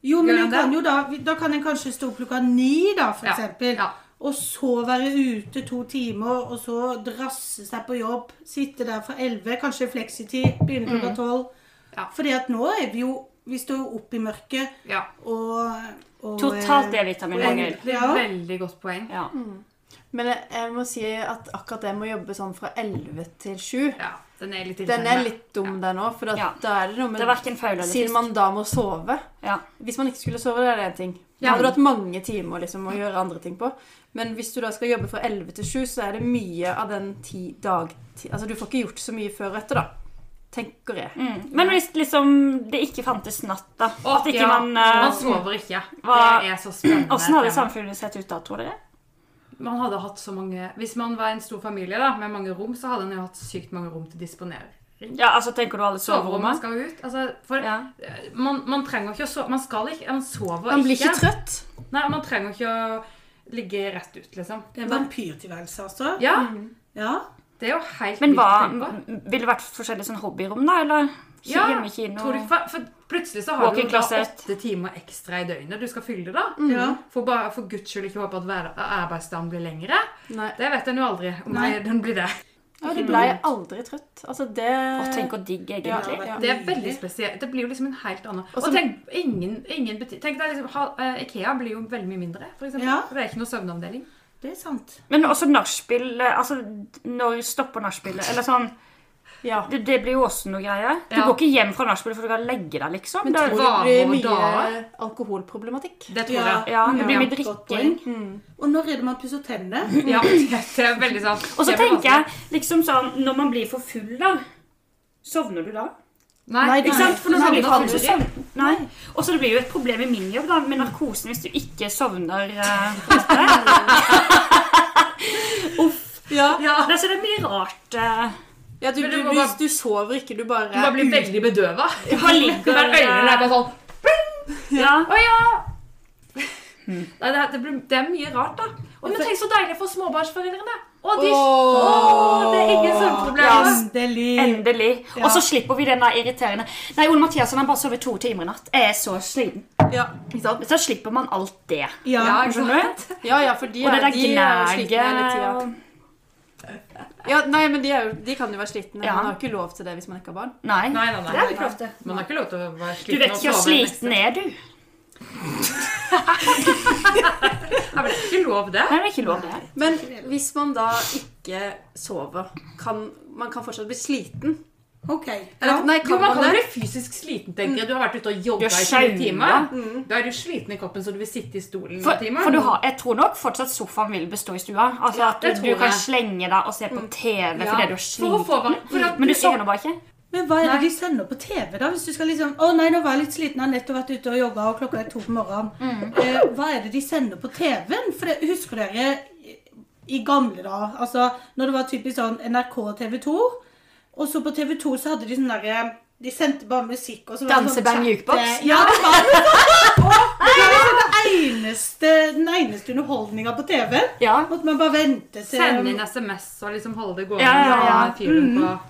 Speaker 3: jo, men
Speaker 2: gjør
Speaker 3: en
Speaker 2: en
Speaker 3: kan jo da, da kan en kanskje stå opp klokka ni, da, for
Speaker 2: Ja,
Speaker 3: eksempel.
Speaker 2: ja.
Speaker 3: Og så være ute to timer, og så drasse seg på jobb. Sitte der fra 11, kanskje fleksitid, begynne klokka 12.
Speaker 2: Mm. Ja.
Speaker 3: Fordi at nå er vi jo Vi står jo opp i mørket
Speaker 2: Ja.
Speaker 3: og, og
Speaker 4: totalt
Speaker 3: eh,
Speaker 4: D-vitaminmangel.
Speaker 2: Det er
Speaker 3: Ja.
Speaker 2: et veldig godt poeng.
Speaker 4: Ja.
Speaker 5: Men jeg, jeg må si at akkurat det med å jobbe sånn fra 11 til 7
Speaker 2: Ja, den er litt
Speaker 5: Den er litt dum der nå, for at
Speaker 4: Ja.
Speaker 5: da er det noe
Speaker 4: Det
Speaker 5: med
Speaker 4: er verken faul eller
Speaker 5: Siden
Speaker 4: fisk.
Speaker 5: man da må sove
Speaker 4: Ja.
Speaker 5: Hvis man ikke skulle sove, da er det én ting. Da
Speaker 2: Ja.
Speaker 5: hadde du hatt mange timer liksom, å gjøre andre ting på. Men hvis du da skal jobbe fra 11 til 7, så er det mye av den ti dag... Ti, altså, du får ikke gjort så mye før og etter, da. Tenker jeg.
Speaker 4: Mm. Men hvis liksom det ikke fantes natt, da?
Speaker 2: Å,
Speaker 4: At ikke
Speaker 2: ja.
Speaker 4: man,
Speaker 2: Man
Speaker 4: eh,
Speaker 2: sover ikke.
Speaker 4: hva-
Speaker 2: Det er så spennende.
Speaker 4: Åssen hadde
Speaker 2: tema.
Speaker 4: samfunnet sett ut da, tror dere?
Speaker 2: Man hadde hatt så mange Hvis man var en stor familie da, med mange rom, så hadde man jo hatt sykt mange rom til å disponere.
Speaker 4: Ja, altså tenker du alle
Speaker 2: Soverommet
Speaker 4: soverommene?
Speaker 2: skal ut. Altså, for
Speaker 4: Ja.
Speaker 2: man, man trenger ikke å sove Man skal ikke Man sover
Speaker 5: Man blir ikke trøtt.
Speaker 2: Nei, og man trenger ikke å ligge rett ut, liksom.
Speaker 3: Det er en eh, vampyrtilværelse, altså.
Speaker 2: Ja,
Speaker 3: Ja.
Speaker 2: det er jo helt
Speaker 4: Men
Speaker 2: vilt å
Speaker 4: hva,
Speaker 2: tenke på.
Speaker 4: ville det vært forskjellige sånn hobbyrom, da? Eller ki-
Speaker 2: Ja,
Speaker 4: hjemmekino?
Speaker 2: Tror du, ikke- for, for plutselig så har du jo
Speaker 4: Walk-in
Speaker 2: da
Speaker 4: closet.
Speaker 2: åtte timer ekstra i døgnet du skal fylle, da.
Speaker 3: ja.
Speaker 2: For, bare, for guds skyld ikke håpe at hver- arbeidsdagen blir lengre.
Speaker 5: Nei.
Speaker 2: Det vet en jo aldri om
Speaker 3: Nei.
Speaker 2: den blir det.
Speaker 5: Ja, du blei aldri trøtt. Altså, det
Speaker 4: Å, tenk hvor digg, egentlig.
Speaker 3: Ja.
Speaker 2: Det er veldig spesielt. Det blir jo liksom en helt annen
Speaker 5: Og
Speaker 2: Og,
Speaker 5: så-
Speaker 2: tenk, ingen, ingen bety tenk deg liksom, ha, eh, Ikea blir jo veldig mye mindre, for eksempel.
Speaker 3: Ja.
Speaker 2: For Det er ikke noe søvnavdeling.
Speaker 3: Det er sant.
Speaker 4: Men også nachspiel eh, Altså, når stopper nachspielet? Eller sånn
Speaker 5: Ja.
Speaker 4: det, det blir jo også noe greier. Du
Speaker 2: Ja.
Speaker 4: går ikke hjem fra nachspielet for du kan legge deg, liksom.
Speaker 5: Men
Speaker 4: Da-
Speaker 5: tror du
Speaker 2: Hva
Speaker 5: det blir
Speaker 2: må
Speaker 5: mye
Speaker 2: da?
Speaker 5: alkoholproblematikk?
Speaker 2: Det tror jeg.
Speaker 4: ja, det
Speaker 2: Ja.
Speaker 4: blir mye
Speaker 3: Godt
Speaker 4: drikking.
Speaker 3: poeng. Og når er det man pusser tennene?
Speaker 2: Ja, det er veldig sant.
Speaker 4: Og så
Speaker 2: Det blir
Speaker 4: tenker
Speaker 2: vanskelig.
Speaker 4: jeg liksom sånn Når man blir for full, da Sovner du da?
Speaker 2: Nei,
Speaker 5: Nei,
Speaker 2: ikke sant? For når
Speaker 4: Nei,
Speaker 2: man
Speaker 4: du
Speaker 2: blir
Speaker 4: kan
Speaker 2: full-
Speaker 4: ikke sovne. Nei. Og så det blir jo et problem i min jobb da med narkosen hvis du ikke sovner. eh, på natta. Uff.
Speaker 5: Ja.
Speaker 2: Ja.
Speaker 4: Det, så det er mye rart. eh.
Speaker 5: ja du,
Speaker 2: Men
Speaker 5: du,
Speaker 2: du
Speaker 5: du,
Speaker 2: må bare-
Speaker 5: du sover ikke, du bare
Speaker 2: Du bare blir veldig bedøva.
Speaker 4: Hva ligger
Speaker 2: Der øynene er bare sånn
Speaker 4: ja.
Speaker 2: Å ja! Hmm. Nei, det, er- det, blir, det er mye rart, da. Og men tenk så deilig for småbarnsforeldrene. Å, de, å, det er ingen sånn søvnproblemer.
Speaker 3: Endelig.
Speaker 4: Endelig. Og så slipper vi den der irriterende Nei, Ole Mathiasen har bare sovet to timer i natt. Jeg er så sliten.
Speaker 5: Ja.
Speaker 4: Ikke sant? Så slipper man alt det.
Speaker 3: Ja.
Speaker 2: Ja, ikke sant?
Speaker 4: Skjønner du?
Speaker 5: ja, ja, for de
Speaker 4: Og det
Speaker 5: er,
Speaker 4: der
Speaker 5: de er jo slitne hele tida.
Speaker 4: gnaget
Speaker 5: Ja, nei, men de, er jo, de kan jo være slitne.
Speaker 4: Ja.
Speaker 5: Man har ikke lov til det hvis man ikke har barn.
Speaker 4: Nei.
Speaker 2: Nei, nei, nei.
Speaker 4: Det er ikke lov til.
Speaker 2: Man har ikke lov til å være
Speaker 4: Du
Speaker 2: sliten
Speaker 4: vet ikke
Speaker 2: og
Speaker 4: hvor
Speaker 2: sove
Speaker 4: sliten er du. Nei,
Speaker 2: Ja, men det er ikke lov, det.
Speaker 4: det er ikke lov. det.
Speaker 5: Men hvis man da ikke sover, kan man kan fortsatt bli sliten?
Speaker 3: OK.
Speaker 5: Eller, Nei,
Speaker 2: Jo,
Speaker 5: kan
Speaker 2: man
Speaker 5: man,
Speaker 2: kan jo
Speaker 5: det?
Speaker 2: bli fysisk sliten, tenker jeg. Du har vært ute og jogga
Speaker 4: Du er
Speaker 2: i to
Speaker 4: skjelven.
Speaker 2: timer. Da er du sliten i kroppen, så du vil sitte i stolen
Speaker 4: Mm. For,
Speaker 2: i timer.
Speaker 4: for du har, jeg tror nok fortsatt sofaen vil bestå i stua. Altså
Speaker 2: Ja,
Speaker 4: at
Speaker 2: det
Speaker 4: du,
Speaker 2: tror
Speaker 4: du kan
Speaker 2: jeg. Mm.
Speaker 4: slenge deg og se på TV
Speaker 2: Ja.
Speaker 4: fordi du er
Speaker 2: For å
Speaker 4: sliten.
Speaker 2: få varme. For at
Speaker 4: Men du
Speaker 2: er-
Speaker 4: sovner bare ikke.
Speaker 3: Men hva er det
Speaker 2: Nei.
Speaker 3: de sender på TV, da? Hvis du skal liksom Å nei, nå var jeg litt sliten, har nettopp vært ute og jogga, og klokka er to på morgenen. Eh, hva er det de sender på TV-en? For det, husker dere i- i gamle dager, altså når det var typisk sånn NRK og TV 2, og så på TV 2 så hadde de sånn derre de sendte bare musikk. og så var det sånn
Speaker 4: Danseband jukebox?
Speaker 3: chatte- Ja, det var det. Og det var liksom det eneste, den eneste underholdninga på TV-en.
Speaker 4: Ja.
Speaker 3: Måtte man bare vente til
Speaker 2: Sende inn SMS og liksom holde det gående.
Speaker 4: Ja, ja, Mm. ja.
Speaker 2: og ha fyren på.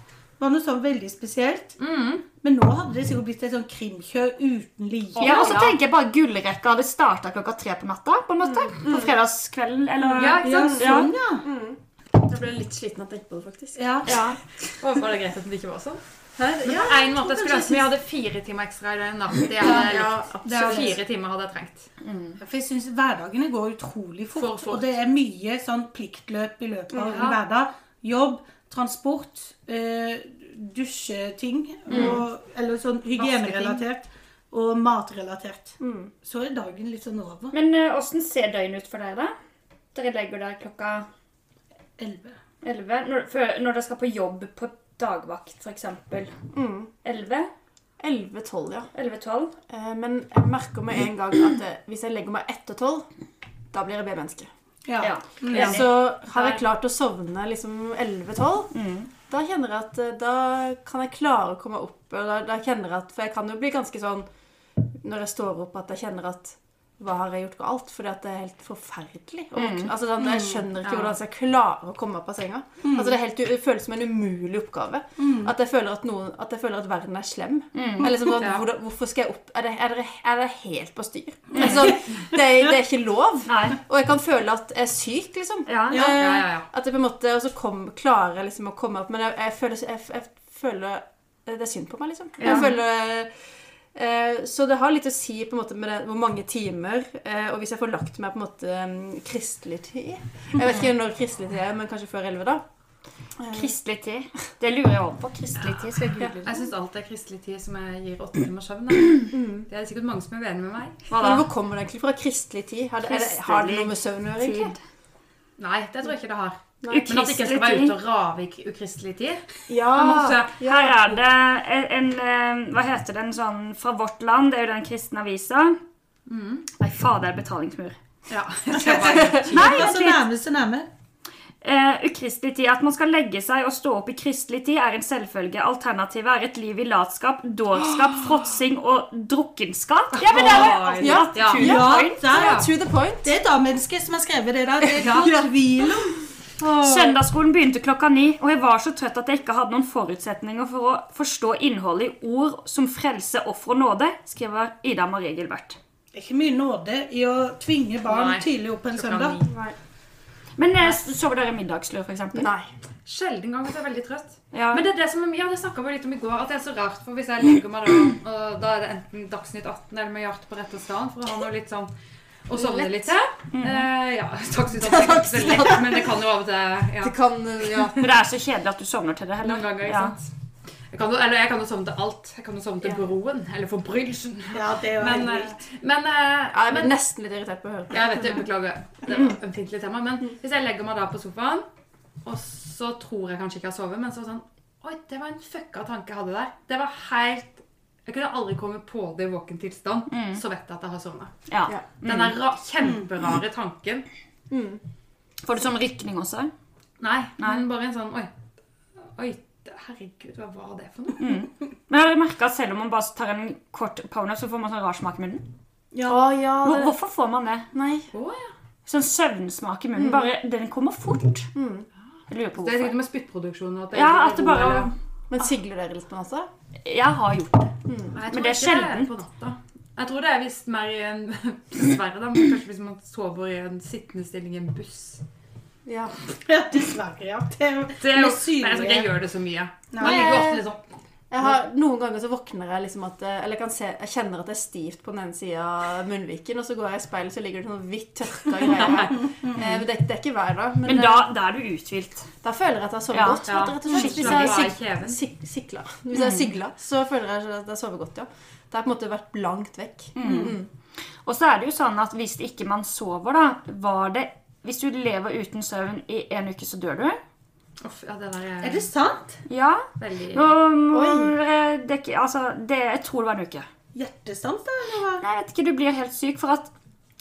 Speaker 3: Det var noe sånn veldig spesielt. Men nå hadde det sikkert blitt et sånn krimkjør uten like.
Speaker 4: Ja, og så
Speaker 2: ja.
Speaker 4: tenker jeg bare gullrekka hadde starta klokka tre på natta. På en måte. På fredagskvelden eller
Speaker 2: Mm, Ja, ikke
Speaker 3: Ja,
Speaker 2: sant?
Speaker 3: sånn, ja.
Speaker 5: Jeg ble litt sliten av å tenke på det, faktisk.
Speaker 3: ja.
Speaker 4: ja.
Speaker 2: Håper det er greit at det ikke var sånn.
Speaker 5: Her,
Speaker 2: Men
Speaker 5: ja,
Speaker 2: på en måte jeg skulle ønske vi hadde fire timer ekstra i døgnet. da. Det hadde jeg
Speaker 5: ja,
Speaker 2: likt. Det er
Speaker 5: absolutt.
Speaker 2: fire timer hadde jeg trengt.
Speaker 3: For jeg syns hverdagene går utrolig fort,
Speaker 2: For fort.
Speaker 3: Og det er mye sånn pliktløp i løpet av
Speaker 2: Ja.
Speaker 3: en hverdag. Jobb, transport, eh, dusjeting og, Eller sånn hygienerelatert. Og matrelatert. Så er dagen litt sånn over.
Speaker 4: Men eh, åssen ser døgnet ut for deg, da? Dere legger dere klokka
Speaker 3: Elleve.
Speaker 4: elleve. Når, før- når dere skal på jobb på dagvakt, f.eks. Elleve?
Speaker 5: 11-12, ja.
Speaker 4: Elleve-tolv?
Speaker 5: Eh, Men jeg merker med en gang at eh, hvis jeg legger meg etter 12, da blir jeg B-menneske.
Speaker 3: Ja.
Speaker 4: Ja.
Speaker 3: Ja.
Speaker 4: Enig.
Speaker 5: Så har jeg klart å sovne liksom 11-12, da kjenner jeg at eh, da kan jeg klare å komme opp. Og da, da kjenner jeg at, For jeg kan jo bli ganske sånn når jeg står opp, at jeg kjenner at hva har jeg gjort galt? Fordi at det er helt forferdelig. å våkne. Altså, sånn, jeg skjønner ikke hvordan jeg skal klare å komme opp av senga. Altså, det, er helt, u- det føles som en umulig oppgave. At, jeg føler at, noen, at jeg føler at verden er slem. Eller liksom, sånn,
Speaker 2: Ja.
Speaker 5: hvordan- hvorfor skal jeg opp? Er det, er det, er det helt på styr? Altså, det, er, det er ikke lov.
Speaker 4: Nei.
Speaker 5: Og jeg kan føle at jeg er syk, liksom.
Speaker 4: Ja.
Speaker 3: Ja.
Speaker 5: Eh,
Speaker 2: Ja, ja, ja.
Speaker 5: At jeg på en måte Og så kom, klarer jeg liksom å eh, komme opp Men jeg, jeg, føler, jeg, jeg føler det er synd på meg, liksom. Jeg føler Eh, Så det har litt å si på en måte med det, hvor mange timer, eh, og hvis jeg får lagt meg på en måte mm, kristelig tid Jeg vet ikke når kristelig tid er, men kanskje før elleve, da.
Speaker 4: Kristelig tid. Det lurer jeg over på. Kristelig tid skal jeg google.
Speaker 2: Jeg syns alt er kristelig tid som jeg gir åtte timers søvn. da. Det er sikkert mange som er uenig med meg.
Speaker 4: Hva da?
Speaker 5: Men hvor kommer det egentlig fra? Kristelig tid? Har det, er det, har det noe med søvn å gjøre, egentlig?
Speaker 4: Tid.
Speaker 2: Nei, det tror jeg ikke det har. Men at jeg ikke
Speaker 4: Ukristelig
Speaker 2: skal være ute
Speaker 4: tid.
Speaker 2: og rave i ukristelig tid.
Speaker 5: Ja.
Speaker 2: Men også,
Speaker 4: Her er det en, en eh, Hva heter den sånn fra vårt land? Det er jo den kristne avisa. Nei, fader, betalingsmur.
Speaker 2: ja, jeg skal bare,
Speaker 3: Det
Speaker 4: Nei,
Speaker 3: var
Speaker 4: vent
Speaker 3: så
Speaker 4: litt.
Speaker 3: nærme, så nærme.
Speaker 4: Eh, ukristelig tid. At man skal legge seg og stå opp i kristelig tid, er en selvfølge. Alternativet er et liv i latskap, dårskap, fråtsing og drukkenskap. Ja, men det er jo
Speaker 2: Oi,
Speaker 4: akkurat
Speaker 2: ja.
Speaker 4: kul
Speaker 3: Ja,
Speaker 4: point.
Speaker 3: der.
Speaker 5: To the point.
Speaker 3: Det er damennesket som har skrevet det der. Det er ikke noe tvil om.
Speaker 4: Søndagsskolen begynte klokka ni, og jeg var så trøtt at jeg ikke hadde noen forutsetninger for å forstå innholdet i ord som frelse, offer og nåde, skriver Ida Marie Gilbert.
Speaker 3: Det er ikke mye nåde i å tvinge barn
Speaker 2: Nei.
Speaker 3: tidlig opp på en
Speaker 2: Klokka
Speaker 3: søndag.
Speaker 2: ni.
Speaker 4: Men eh, sover dere middagslur, for eksempel?
Speaker 5: Nei.
Speaker 2: Sjelden gang at jeg er veldig trøtt.
Speaker 4: Ja.
Speaker 2: Men det er det som er mye, ja, det snakket vi litt om i går, at det er så rart. For hvis jeg legger meg da, og da er det enten Dagsnytt 18 eller med Hjart på rett og stand, for å ha noe litt sånn og sovne litt til.
Speaker 3: Mhm.
Speaker 2: Eh, ja, Dagsnytt 18 er ikke så lett, men det kan jo av og til ja,
Speaker 5: Det kan Ja.
Speaker 4: Men det er så kjedelig at du sovner til det heller.
Speaker 2: noen ganger. ikke
Speaker 4: Ja.
Speaker 2: sant? Jeg kan, jo- eller jeg kan jo sovne til alt. Jeg kan jo sovne til Broen eller Forbrytelsen.
Speaker 3: Ja, det er jo
Speaker 2: Men,
Speaker 3: helt
Speaker 2: eh,
Speaker 3: vilt.
Speaker 2: men, eh,
Speaker 5: Jeg
Speaker 2: men
Speaker 5: blir nesten litt irritert på å høre på.
Speaker 2: Jeg vet det, beklager. Det var et ømfintlig tema. Men hvis jeg legger meg da på sofaen, og så tror jeg kanskje ikke jeg har sovet, men så sånn Oi, det var en fucka tanke jeg hadde der. Det var helt Jeg kunne aldri komme på det i våken tilstand.
Speaker 4: Mm.
Speaker 2: Så vet jeg at jeg har sovna.
Speaker 4: Ja.
Speaker 5: Ja.
Speaker 2: Den der ra kjemperare tanken.
Speaker 4: Får du sånn rykning også?
Speaker 2: Nei,
Speaker 4: Nei.
Speaker 2: men bare en sånn Oi. Oi, herregud, hva var det for
Speaker 4: Mm.
Speaker 2: noe?
Speaker 4: Men har dere merket at selv om man bare tar en kort powernap, så får man sånn rar smak i munnen?
Speaker 5: Å ja,
Speaker 4: Hvor,
Speaker 5: det,
Speaker 4: hvorfor får man det?
Speaker 5: nei.
Speaker 2: Å ja.
Speaker 4: Sånn søvnsmak i munnen. Bare, den kommer fort. Jeg lurer på
Speaker 2: Mm. Det er
Speaker 4: hvorfor.
Speaker 2: sikkert med spyttproduksjonen at
Speaker 4: Ja, at det bare
Speaker 2: Ah.
Speaker 5: Men sigler dere litt på natta?
Speaker 4: Jeg har gjort det.
Speaker 2: Men det er sjelden. På natta. Jeg tror det er hvis mer i en Dessverre, da. Men kanskje hvis man sover i en sittende stilling i en buss.
Speaker 5: Ja.
Speaker 3: Ja, dessverre, ja. Det er jo
Speaker 2: eh, Det er jo,
Speaker 3: Med synlige-
Speaker 2: Nei, jeg tror ikke jeg gjør det så mye. Man
Speaker 3: Nei.
Speaker 2: ligger jo ofte litt sånn
Speaker 5: Jeg har, noen ganger så våkner jeg liksom at eh, Eller jeg, kan se, jeg kjenner at det er stivt på den ene sida av munnviken, og så går jeg i speilet, så ligger det sånn hvitt tørka greier her.
Speaker 2: Mm.
Speaker 5: Eh, Det, det er ikke hver dag, men,
Speaker 4: Men da, da er du uthvilt.
Speaker 5: eh, da føler jeg at jeg har sovet
Speaker 4: Ja,
Speaker 5: godt.
Speaker 2: ja.
Speaker 5: Rett og slett. Hvis
Speaker 2: Skikkelig
Speaker 5: jeg
Speaker 2: bra i
Speaker 5: sig,
Speaker 2: kjeven. Mm.
Speaker 5: sig, sigla, hvis jeg sigla, så føler jeg at jeg har sovet godt, ja. Det har på en måte vært langt vekk.
Speaker 2: Mm.
Speaker 5: Mm.
Speaker 4: Og så er det jo sånn at hvis ikke man sover, da var det Hvis du lever uten søvn i en uke, så dør du.
Speaker 2: Uff, ja, det der er,
Speaker 3: Er det sant?
Speaker 4: Ja.
Speaker 2: veldig
Speaker 4: Nå må eh, det er ikke Altså, det, jeg tror det var en uke.
Speaker 3: Hjertestans, da? eller hva?
Speaker 4: Nei, jeg vet ikke, du blir helt syk, for at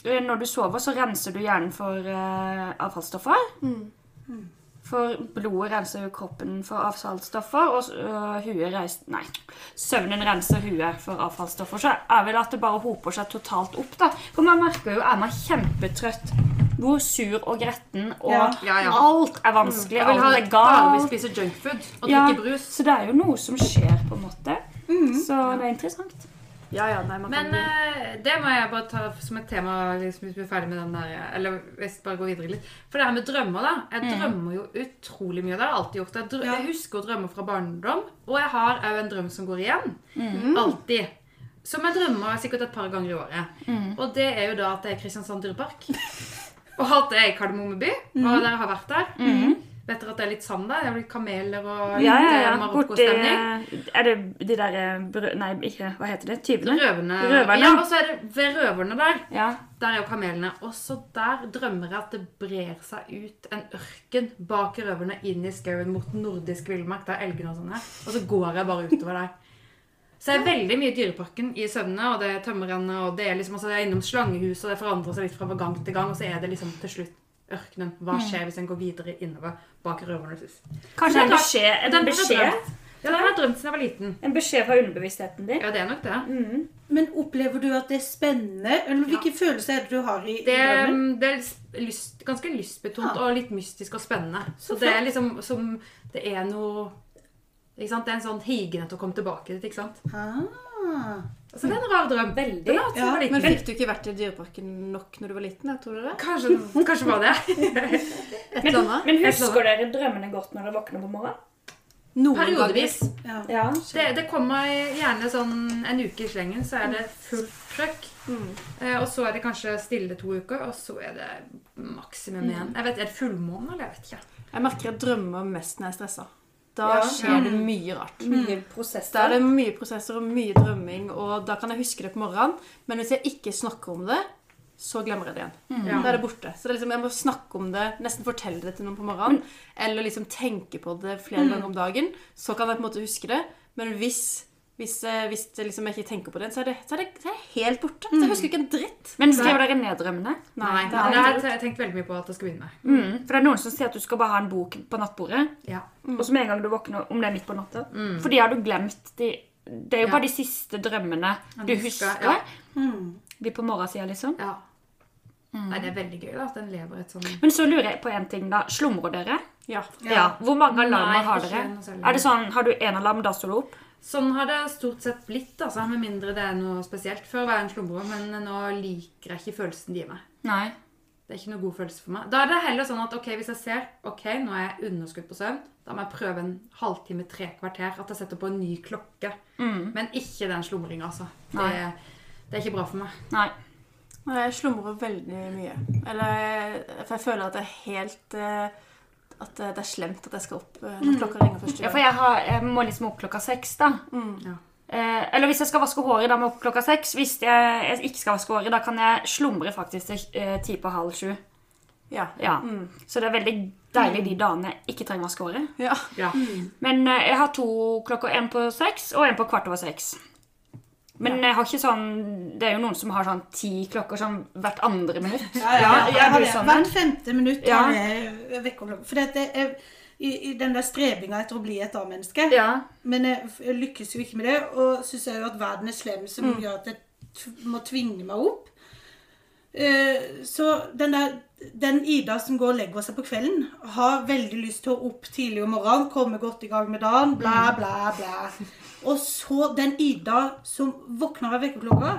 Speaker 4: eh, når du sover, så renser du hjernen for eh, avfallsstoffer.
Speaker 2: Mm.
Speaker 4: For blodet renser jo kroppen for avfallsstoffer, og eh, huet reis- Nei. Søvnen renser huet for avfallsstoffer. Så er vel at det bare hoper seg totalt opp, da. For man merker jo er man kjempetrøtt. Hvor sur og gretten og
Speaker 3: Ja.
Speaker 2: Ja, ja.
Speaker 4: Alt er vanskelig.
Speaker 2: Jeg vil ha
Speaker 4: Alt er
Speaker 2: et galt hvis
Speaker 4: galt.
Speaker 2: vi spiser junkfood og
Speaker 4: Ja.
Speaker 2: drikker brus. Mm.
Speaker 4: Så det er jo noe som skjer, på en måte. Så det er interessant.
Speaker 5: Ja, ja, nei, man
Speaker 2: Men
Speaker 5: kan bli-
Speaker 2: eh, det må jeg bare ta som et tema liksom, hvis vi er ferdig med den der Eller hvis jeg bare går videre litt. For det her med drømmer, da.
Speaker 4: Mm.
Speaker 2: Jeg drømmer jo utrolig mye. Det har jeg alltid gjort. Jeg, drø
Speaker 3: Ja.
Speaker 2: jeg husker drømmer fra barndom, og jeg har òg en drøm som går igjen.
Speaker 4: Mm.
Speaker 2: Alltid. Som jeg drømmer sikkert et par ganger i året.
Speaker 4: Mm.
Speaker 2: Og det er jo da at det er Kristiansand dyrepark. Og at det er i Kardemomme by. Og dere har vært der. Vet dere at det er litt sand der? Det er litt kameler og litt
Speaker 4: Mm. Ja, ja,
Speaker 2: eh,
Speaker 4: ja. Borti
Speaker 2: marokkostemning.
Speaker 4: Er det de derre brø... Nei, ikke Hva heter det? Tyvene?
Speaker 2: Røverne.
Speaker 4: Røverne.
Speaker 2: Ja, og så er det ved røverne der.
Speaker 4: Ja.
Speaker 2: Der er jo kamelene. Og så der drømmer jeg at det brer seg ut en ørken bak røverne inn i skauen mot nordisk villmark. Der er elgene og sånn her. Og så går jeg bare utover der. Så jeg er veldig mye i Dyreparken i søvne, og det er tømmerrennet, og det er liksom, altså jeg er innom slangehus, og det forandrer seg litt fra gang til gang, og så er det liksom til slutt ørkenen. Hva
Speaker 4: Mm.
Speaker 2: skjer hvis en går videre innover bak røvernes hus?
Speaker 4: Kanskje en
Speaker 2: da-
Speaker 4: beskjed, en,
Speaker 2: Den har jeg
Speaker 4: beskjed,
Speaker 2: drømt. Ja, den har jeg drømt siden jeg var liten.
Speaker 4: en beskjed fra underbevisstheten din.
Speaker 2: Ja, det er nok det.
Speaker 3: Men opplever du at det er spennende? Eller hvilke følelser er det du har i i
Speaker 2: Det, mm,
Speaker 3: drømmen?
Speaker 2: det er lyst, ganske lystbetont
Speaker 3: Ja.
Speaker 2: og litt mystisk og spennende. Så det er liksom som Det er noe ikke sant? Det er en sånn higen etter å komme tilbake dit. ikke sant?
Speaker 3: Ah.
Speaker 2: Så det er en rar drøm.
Speaker 4: Veldig.
Speaker 2: Den har jeg hatt siden jeg var
Speaker 5: Men
Speaker 2: liten.
Speaker 5: fikk du ikke vært i Dyreparken nok når du var liten? Jeg tror du det?
Speaker 2: Kanskje, kanskje var det.
Speaker 5: Et eller annet?
Speaker 4: Men husker dere drømmene godt når dere våkner på morgenen?
Speaker 5: Noen
Speaker 2: Periodevis.
Speaker 3: Ja.
Speaker 4: Ja.
Speaker 2: Det, det kommer gjerne sånn en uke i slengen, så er det fullt trøkk.
Speaker 5: Mm.
Speaker 2: Eh, og så er det kanskje stille to uker, og så er det maksimum igjen. Jeg vet, Er det fullmåne, eller? Jeg vet ikke.
Speaker 5: ganger. Jeg merker jeg drømmer mest når jeg er stressa. Da
Speaker 6: Ja. Mm.
Speaker 5: skjer det mye rart.
Speaker 6: Mye
Speaker 5: Da er
Speaker 6: prosesser.
Speaker 5: det mye prosesser og mye drømming, og da kan jeg huske det på morgenen. Men hvis jeg ikke snakker om det, så glemmer jeg det igjen.
Speaker 2: Ja.
Speaker 5: Da er det borte. Så det er liksom, jeg må snakke om det, nesten fortelle det til noen på morgenen. Eller liksom tenke på det flere ganger om dagen. Så kan jeg på en måte huske det. Men hvis, hvis, eh, hvis det liksom jeg ikke tenker på det, så er det, så er det, så er det helt borte. Så jeg husker ikke en dritt.
Speaker 4: Men skrev dere ned drømmene?
Speaker 2: Nei,
Speaker 5: Mm. det
Speaker 2: det
Speaker 5: er
Speaker 2: har jeg tenkt veldig mye på at jeg skal begynne med.
Speaker 4: Mm. For det er noen som sier at du skal bare ha en bok på nattbordet,
Speaker 2: Ja.
Speaker 4: og så med en gang du våkner, om det er midt på natta For de har du glemt. De, det er jo
Speaker 2: Mm. Ja.
Speaker 4: bare de siste drømmene du
Speaker 2: husker,
Speaker 4: husker.
Speaker 2: ja. Mm.
Speaker 4: De på morgensida, liksom.
Speaker 2: ja.
Speaker 4: Mm.
Speaker 2: Nei, det er veldig gøy da, at den lever et sånn
Speaker 4: Men så lurer jeg på en ting, da. Slumrer dere?
Speaker 5: Ja.
Speaker 4: Ja. Hvor mange alarmer
Speaker 2: Nei,
Speaker 4: har
Speaker 2: ikke
Speaker 4: dere?
Speaker 2: noe særlig.
Speaker 4: Er det sånn, Har du én alarm, da står du opp?
Speaker 2: Sånn har det stort sett blitt, altså, med mindre det er noe spesielt. Før var jeg en slumrer, men nå liker jeg ikke følelsen de gir meg.
Speaker 4: Nei.
Speaker 2: Det er ikke noe god følelse for meg. Da er det heller sånn at ok, hvis jeg ser ok, nå er jeg underskudd på søvn, da må jeg prøve en halvtime, tre kvarter. At jeg setter på en ny klokke. Men ikke den slumringa, altså. Det,
Speaker 4: Mm. Nei.
Speaker 2: det er ikke bra for meg.
Speaker 4: Nei.
Speaker 5: Nei, Jeg slumrer veldig mye. Eller, for jeg føler at det er helt eh, At det det er slemt at jeg skal opp eh, når klokka ringer første
Speaker 4: Mm. Ja,
Speaker 5: gang.
Speaker 4: for jeg, har, jeg må liksom opp klokka seks, da.
Speaker 2: Ja.
Speaker 4: Eh, eller hvis jeg skal vaske håret, da må jeg opp klokka seks. Hvis jeg, jeg ikke skal vaske håret, da kan jeg slumre faktisk til eh, ti på halv sju.
Speaker 5: Ja.
Speaker 4: Ja.
Speaker 5: Mm.
Speaker 4: Så det er veldig deilig de dagene jeg ikke trenger å vaske håret.
Speaker 5: Ja.
Speaker 2: Ja.
Speaker 4: Men eh, jeg har to klokker. Én på seks og én på kvart over seks. Men jeg har ikke sånn Det er jo noen som har sånn ti klokker sånn hvert andre minutt.
Speaker 3: Ja, ja,
Speaker 4: Ja,
Speaker 3: jeg
Speaker 4: er
Speaker 3: har
Speaker 4: du
Speaker 3: det.
Speaker 4: sånn?
Speaker 3: Hvert femte minutt
Speaker 4: Ja.
Speaker 3: har jeg vekkerklokke. For dette er i, i den der strebinga etter å bli et A-menneske.
Speaker 4: Ja.
Speaker 3: Men jeg, f- jeg lykkes jo ikke med det, og syns jeg jo at verden er slem
Speaker 4: Mm.
Speaker 3: som gjør at jeg t må tvinge meg opp. Eh, så den der den Ida som går og legger seg på kvelden, har veldig lyst til å opp tidlig om morgenen, komme godt i gang med dagen,
Speaker 4: Mm.
Speaker 3: blæ, blæ, blæ. Og så den Ida som våkner av vekkerklokka,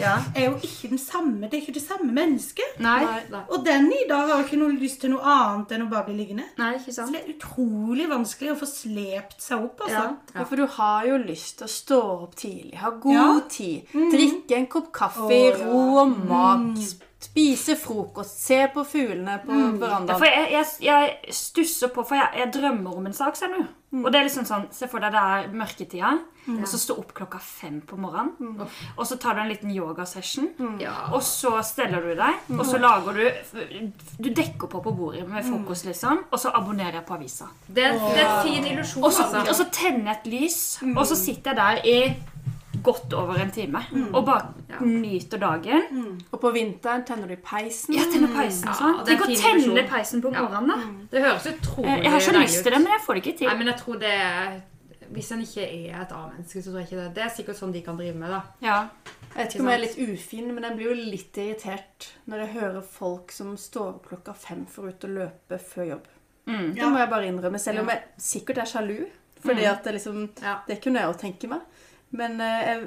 Speaker 4: ja.
Speaker 3: er jo ikke den samme. Det er ikke det samme mennesket.
Speaker 4: Nei.
Speaker 2: Nei.
Speaker 3: Og den i dag har jo ikke noe lyst til noe annet enn å bare bli liggende.
Speaker 4: Nei, ikke
Speaker 3: Så
Speaker 4: sant?
Speaker 3: det er utrolig vanskelig å få slept seg opp, altså.
Speaker 4: Ja.
Speaker 5: Ja, for du har jo lyst til å stå opp tidlig, ha god
Speaker 3: Ja.
Speaker 5: tid,
Speaker 4: Mm.
Speaker 5: drikke en kopp kaffe i
Speaker 3: Å, ja.
Speaker 5: ro og mak, spise frokost, se på fuglene på
Speaker 4: Mm. Ja, for
Speaker 5: verandaen.
Speaker 4: jeg, jeg, jeg stusser på, for jeg, jeg drømmer om en sak, ser du.
Speaker 2: Mm.
Speaker 4: Og det er liksom sånn, Se for deg det er mørketida, og så stå opp klokka fem på
Speaker 2: Mm.
Speaker 4: morgenen. Og så tar du en liten yogasession,
Speaker 2: Ja.
Speaker 4: og så steller du deg.
Speaker 2: Mm.
Speaker 4: Og så lager du Du dekker på på bordet med frokost, liksom. Og så abonnerer jeg på avisa.
Speaker 2: Det, det er en fin illusjon,
Speaker 4: Og så,
Speaker 2: altså.
Speaker 4: og så tenner jeg et lys,
Speaker 2: Mm.
Speaker 4: og så sitter jeg der i godt over en time
Speaker 2: Mm.
Speaker 4: og bare
Speaker 2: Ja.
Speaker 4: nyter dagen.
Speaker 2: Mm.
Speaker 5: Og på vinteren tenner du i peisen.
Speaker 4: Jeg tenner peisen
Speaker 2: Ja,
Speaker 4: sånn.
Speaker 2: det er
Speaker 4: Tenk å
Speaker 2: fin
Speaker 4: tenne
Speaker 2: illusjon.
Speaker 4: peisen på
Speaker 2: Ja.
Speaker 4: morgenen, da.
Speaker 2: Det høres utrolig
Speaker 4: Eh, Jeg har så lyst til det, men jeg får det ikke
Speaker 2: Nei,
Speaker 4: til.
Speaker 2: men jeg tror det er Hvis en ikke er et A-menneske, så tror jeg ikke det. Det er sikkert sånn de kan drive med, da.
Speaker 4: Ja.
Speaker 5: Jeg vet ikke om jeg er litt ufin, men jeg blir jo litt irritert når jeg hører folk som står opp klokka fem for ut og løpe før jobb.
Speaker 4: Mm.
Speaker 5: Det må jeg bare innrømme, selv om jeg sikkert er sjalu. Fordi
Speaker 4: Mm.
Speaker 5: at det liksom
Speaker 2: Ja.
Speaker 5: Det kunne jeg jo tenke meg. Men eh, jeg,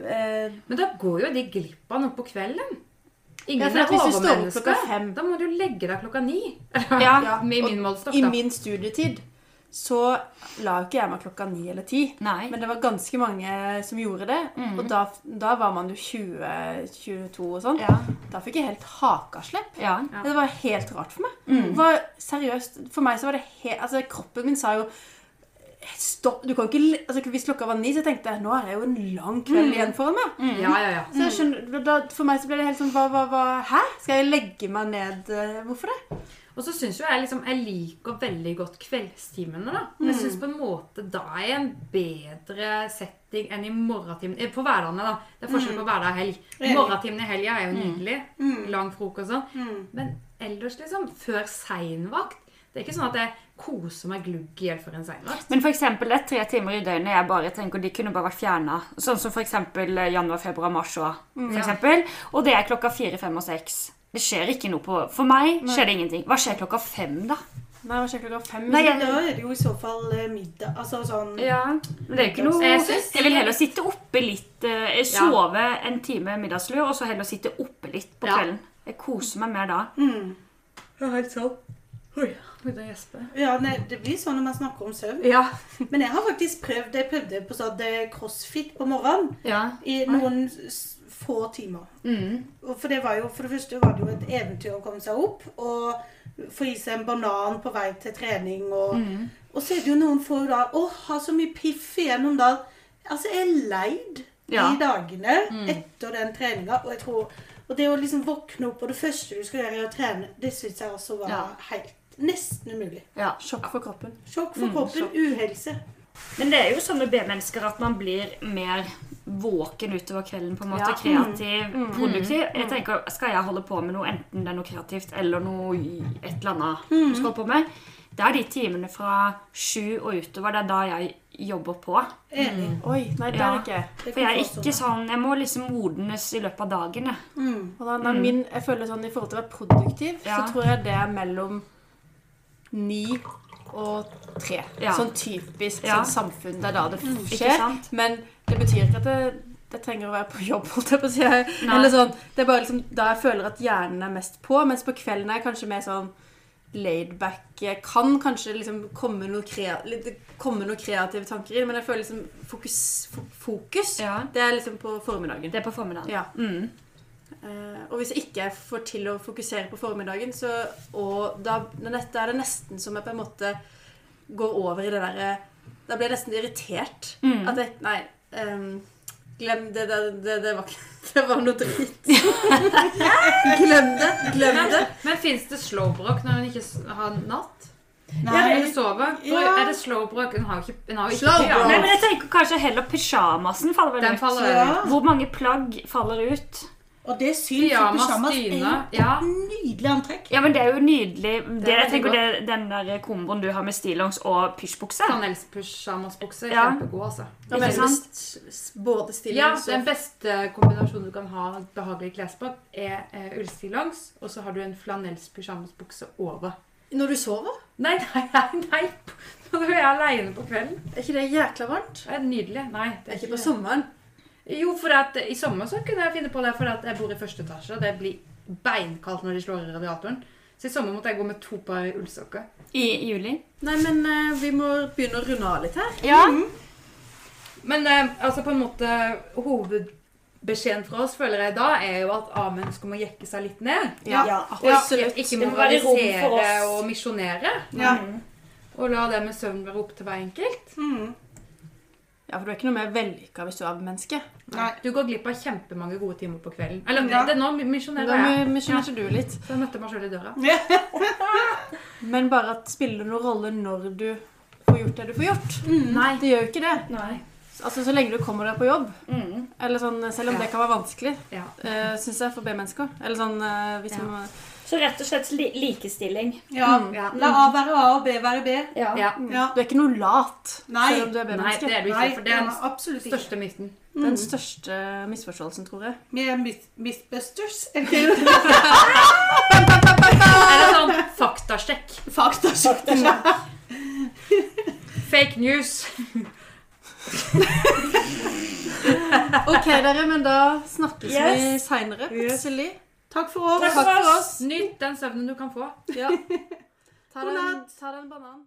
Speaker 5: eh,
Speaker 2: Men da går jo de glipp av noe på kvelden. Ingen
Speaker 5: Ja, for at
Speaker 2: er
Speaker 5: hvis du står opp klokka
Speaker 2: overmenneske.
Speaker 5: fem
Speaker 2: Da må du legge deg klokka ni.
Speaker 4: Ja.
Speaker 5: Ja,
Speaker 2: Med
Speaker 5: og
Speaker 2: min målestokk,
Speaker 5: I
Speaker 2: da.
Speaker 5: min studietid så la jo ikke jeg meg klokka ni eller ti.
Speaker 4: Nei.
Speaker 5: Men det var ganske mange som gjorde det. Og da, da var man jo 20-22 og sånn.
Speaker 4: Ja.
Speaker 5: Da fikk jeg helt hakaslepp.
Speaker 4: Ja.
Speaker 2: Ja.
Speaker 5: Det var helt rart for meg.
Speaker 3: Mm.
Speaker 5: Det Var, seriøst, for meg så var det helt Altså, kroppen min sa jo Stopp. Du kan jo ikke le- altså, Hvis klokka var ni, så tenkte jeg nå er det jo en lang
Speaker 3: Mm.
Speaker 5: kveld igjen foran meg.
Speaker 2: Ja, ja, ja.
Speaker 5: Så jeg skjønner, da, For meg så ble det helt sånn hva, hva, hva, Hæ? Skal jeg legge meg ned eh, Hvorfor det?
Speaker 2: Og så syns jo jeg liksom Jeg liker veldig godt kveldstimene, da. Men jeg syns på en måte da er jeg i en bedre setting enn i morgentimen. eh, På hverdagene, da. Det er forskjell på hverdag og helg.
Speaker 3: Enig.
Speaker 2: Morgentimen i helga er jo nydelig. Lang frokost og sånn. Men ellers, liksom, før seinvakt Det er ikke sånn at jeg koser meg glugg i hjel for en seinvakt.
Speaker 4: Men for eksempel, det er tre timer i døgnet jeg bare tenker de kunne bare vært fjerna. Sånn som for eksempel eh, januar, februar, mars og for eksempel. Og det er klokka fire, fem og seks. Det skjer ikke noe på For meg skjer det ingenting. Hva skjer klokka fem, da?
Speaker 5: Nei, hva skjer klokka fem?
Speaker 4: Nei,
Speaker 3: Da
Speaker 4: jeg,
Speaker 3: er det jo i så fall eh, middag. Altså sånn
Speaker 4: ja. Men det er jo ikke noe
Speaker 2: Jeg
Speaker 4: Jeg,
Speaker 2: synes-
Speaker 4: vil heller sitte oppe litt. eh, Sove en time middagslur, og så heller sitte oppe litt på
Speaker 2: Ja.
Speaker 4: kvelden. Jeg koser meg mer da.
Speaker 2: Ja, helt sant. Oi.
Speaker 5: Begynte å gjespe.
Speaker 3: Ja, nei, det blir sånn når man snakker om søvn.
Speaker 5: Ja.
Speaker 3: Men jeg har faktisk prøvd Jeg prøvde på sånn eh, crossfit på morgenen
Speaker 2: Ja.
Speaker 3: i noen s- få timer.
Speaker 4: Mm.
Speaker 3: Og For det var jo, for det første var det jo et eventyr å komme seg opp og få i seg en banan på vei til trening. Og,
Speaker 4: Mm.
Speaker 3: og så er det jo noen få da Å, har så mye piff igjen om dagen. Altså, jeg er leid
Speaker 4: Ja. Mm.
Speaker 3: de dagene etter den treninga. Og jeg tror, og det å liksom våkne opp, og det første du skal gjøre, er å trene. Det syns jeg også var
Speaker 4: Ja.
Speaker 3: helt Nesten umulig.
Speaker 4: Ja.
Speaker 5: Sjokk for kroppen.
Speaker 3: Mm, Sjokk for kroppen. Uhelse.
Speaker 4: Men det er jo sånn med B-mennesker at man blir mer våken utover kvelden. på en måte,
Speaker 5: Ja.
Speaker 4: Kreativ, produktiv. Jeg tenker, Skal jeg holde på med noe, enten det er noe kreativt eller noe i- et eller annet du skal holde på med, det er de timene fra sju og utover. Det er da jeg jobber på.
Speaker 3: Enig.
Speaker 5: Oi, nei, der
Speaker 4: Ja.
Speaker 5: er ikke jeg.
Speaker 3: Det
Speaker 4: For jeg er
Speaker 3: kan få
Speaker 4: ikke sånn Jeg må liksom modnes i løpet av dagen. jeg.
Speaker 3: Mm.
Speaker 5: Og da, da min, jeg føler sånn, I forhold til å være produktiv,
Speaker 4: Ja.
Speaker 5: så tror jeg det er mellom ni og tre.
Speaker 4: Ja.
Speaker 5: Sånn typisk
Speaker 4: Ja. Mm.
Speaker 5: sånn samfunn. Det er da det
Speaker 4: Ikke
Speaker 5: skjer.
Speaker 4: sant?
Speaker 5: Men det betyr ikke at jeg, jeg trenger å være på jobb. Holdt jeg på å si.
Speaker 4: Nei.
Speaker 5: Eller sånn, det er bare liksom, da jeg føler at hjernen er mest på, mens på kvelden er jeg kanskje mer sånn laidback. Jeg kan kanskje liksom komme noen kreative, komme noen kreative tanker inn, men jeg føler liksom fokus, fo- fokus
Speaker 4: Ja.
Speaker 5: Det er liksom på formiddagen.
Speaker 4: Det er på formiddagen.
Speaker 5: Ja.
Speaker 4: Mm.
Speaker 5: Eh, og hvis jeg ikke får til å fokusere på formiddagen, så og da, da nett- da er det nesten som jeg på en måte går over i det derre Da blir jeg nesten irritert.
Speaker 4: Mm.
Speaker 5: At jeg Nei, ehm, glem det, det, det, det var ikke Det var noe dritt. glem det. Glem det.
Speaker 2: Men fins det slowbrok når en ikke s- har natt?
Speaker 3: Nei,
Speaker 2: Eller sover?
Speaker 3: Ja.
Speaker 2: Er det slowbrok? En har jo ikke, en har jo ikke
Speaker 5: Slowbrok.
Speaker 2: pyjamas.
Speaker 4: Nei, men jeg tenker kanskje heller pysjamasen faller vel
Speaker 2: Den
Speaker 4: ut.
Speaker 2: faller
Speaker 3: Ja.
Speaker 2: ut.
Speaker 4: Hvor mange plagg faller ut?
Speaker 3: Og det syns for
Speaker 2: Pyjamas,
Speaker 3: pysjamas er
Speaker 2: dyne.
Speaker 3: jo
Speaker 2: Ja.
Speaker 3: nydelig antrekk.
Speaker 4: Ja, men det er jo nydelig. Det,
Speaker 2: er
Speaker 4: jeg tenker
Speaker 2: veldig
Speaker 4: det, Den der komboen du har med stillongs og pysjbukse.
Speaker 2: Chanels pysjamasbukse.
Speaker 4: Ja.
Speaker 2: sånn Kjempegod, altså.
Speaker 5: Da
Speaker 4: Ikke
Speaker 5: mener du
Speaker 4: sant?
Speaker 5: s- s- både
Speaker 2: Ja,
Speaker 5: stillings
Speaker 2: Den beste kombinasjonen du kan ha av et behagelig klesplagg, er eh, ullstillongs, og så har du en flanells pysjamasbukse over.
Speaker 5: og Når du sover?
Speaker 2: Nei, nei, nei! nei. Når du er aleine på kvelden.
Speaker 5: Er ikke det jækla varmt?
Speaker 2: Det er nydelig. Nei.
Speaker 5: Det er ikke på sommeren.
Speaker 2: Jo, for at i sommer så kunne jeg finne på det, for at jeg bor i første etasje, og det blir beinkaldt når de slår i radiatoren. Så i sommer måtte jeg gå med to par ullsokker.
Speaker 4: I juli.
Speaker 5: Nei, men eh, vi må begynne å runde av litt her.
Speaker 4: Ja.
Speaker 2: Men eh, altså på en måte hovedbeskjeden fra oss føler jeg da, er jo at A-mennesker må jekke seg litt ned.
Speaker 3: Ja.
Speaker 2: Og ikke,
Speaker 5: absolutt.
Speaker 2: ikke
Speaker 4: Det må være rom for
Speaker 2: moralisere
Speaker 4: oss.
Speaker 2: og misjonere.
Speaker 3: Ja.
Speaker 2: Og la det med søvn være opp til hver enkelt.
Speaker 3: Mm.
Speaker 5: Ja, for du er ikke noe mer vellykka hvis du er menneske.
Speaker 3: Nei.
Speaker 2: Du går glipp av kjempemange gode timer på kvelden. Eller
Speaker 3: Ja.
Speaker 2: det, det, nå
Speaker 5: Da
Speaker 2: misjonerer jeg.
Speaker 5: misjonerte du litt.
Speaker 2: Så jeg møtte meg sjøl i døra.
Speaker 5: Men bare at spiller det noen rolle når du får gjort det du får gjort?
Speaker 4: Nei.
Speaker 5: Det gjør jo ikke det.
Speaker 4: Nei.
Speaker 5: Altså Så lenge du kommer deg på jobb.
Speaker 4: Mm.
Speaker 5: Eller sånn, Selv om
Speaker 2: Ja.
Speaker 5: det kan være vanskelig,
Speaker 2: Ja.
Speaker 5: uh, syns jeg, for B-mennesker. Eller sånn eh, hvis
Speaker 2: Ja.
Speaker 5: man, Mm.
Speaker 4: Så rett og slett li likestilling.
Speaker 3: Ja.
Speaker 2: Ja.
Speaker 3: Mm. La A være A og B være B.
Speaker 4: Ja.
Speaker 2: ja.
Speaker 3: Ja.
Speaker 5: Du er ikke noe lat
Speaker 3: Nei.
Speaker 5: selv om du er
Speaker 2: Nei,
Speaker 5: B-menneske.
Speaker 2: det er du
Speaker 3: Nei,
Speaker 2: ikke. For det er den
Speaker 3: absolutt ikke.
Speaker 2: største myten.
Speaker 5: Den største misforståelsen, tror jeg.
Speaker 3: Vi er myth- Mythbusters. er vi ikke det?
Speaker 2: Eller sånn faktasjekk.
Speaker 3: Faktasjekk.
Speaker 2: Fake news.
Speaker 5: OK, dere, men da snakkes vi
Speaker 4: Yes.
Speaker 5: seinere,
Speaker 3: Yes.
Speaker 5: plutselig.
Speaker 3: Takk for oss.
Speaker 5: Takk for oss.
Speaker 2: Nyt den søvnen du kan få.
Speaker 5: Ja. Ta
Speaker 3: God
Speaker 5: deg en-
Speaker 3: natt.
Speaker 5: ta deg en banan.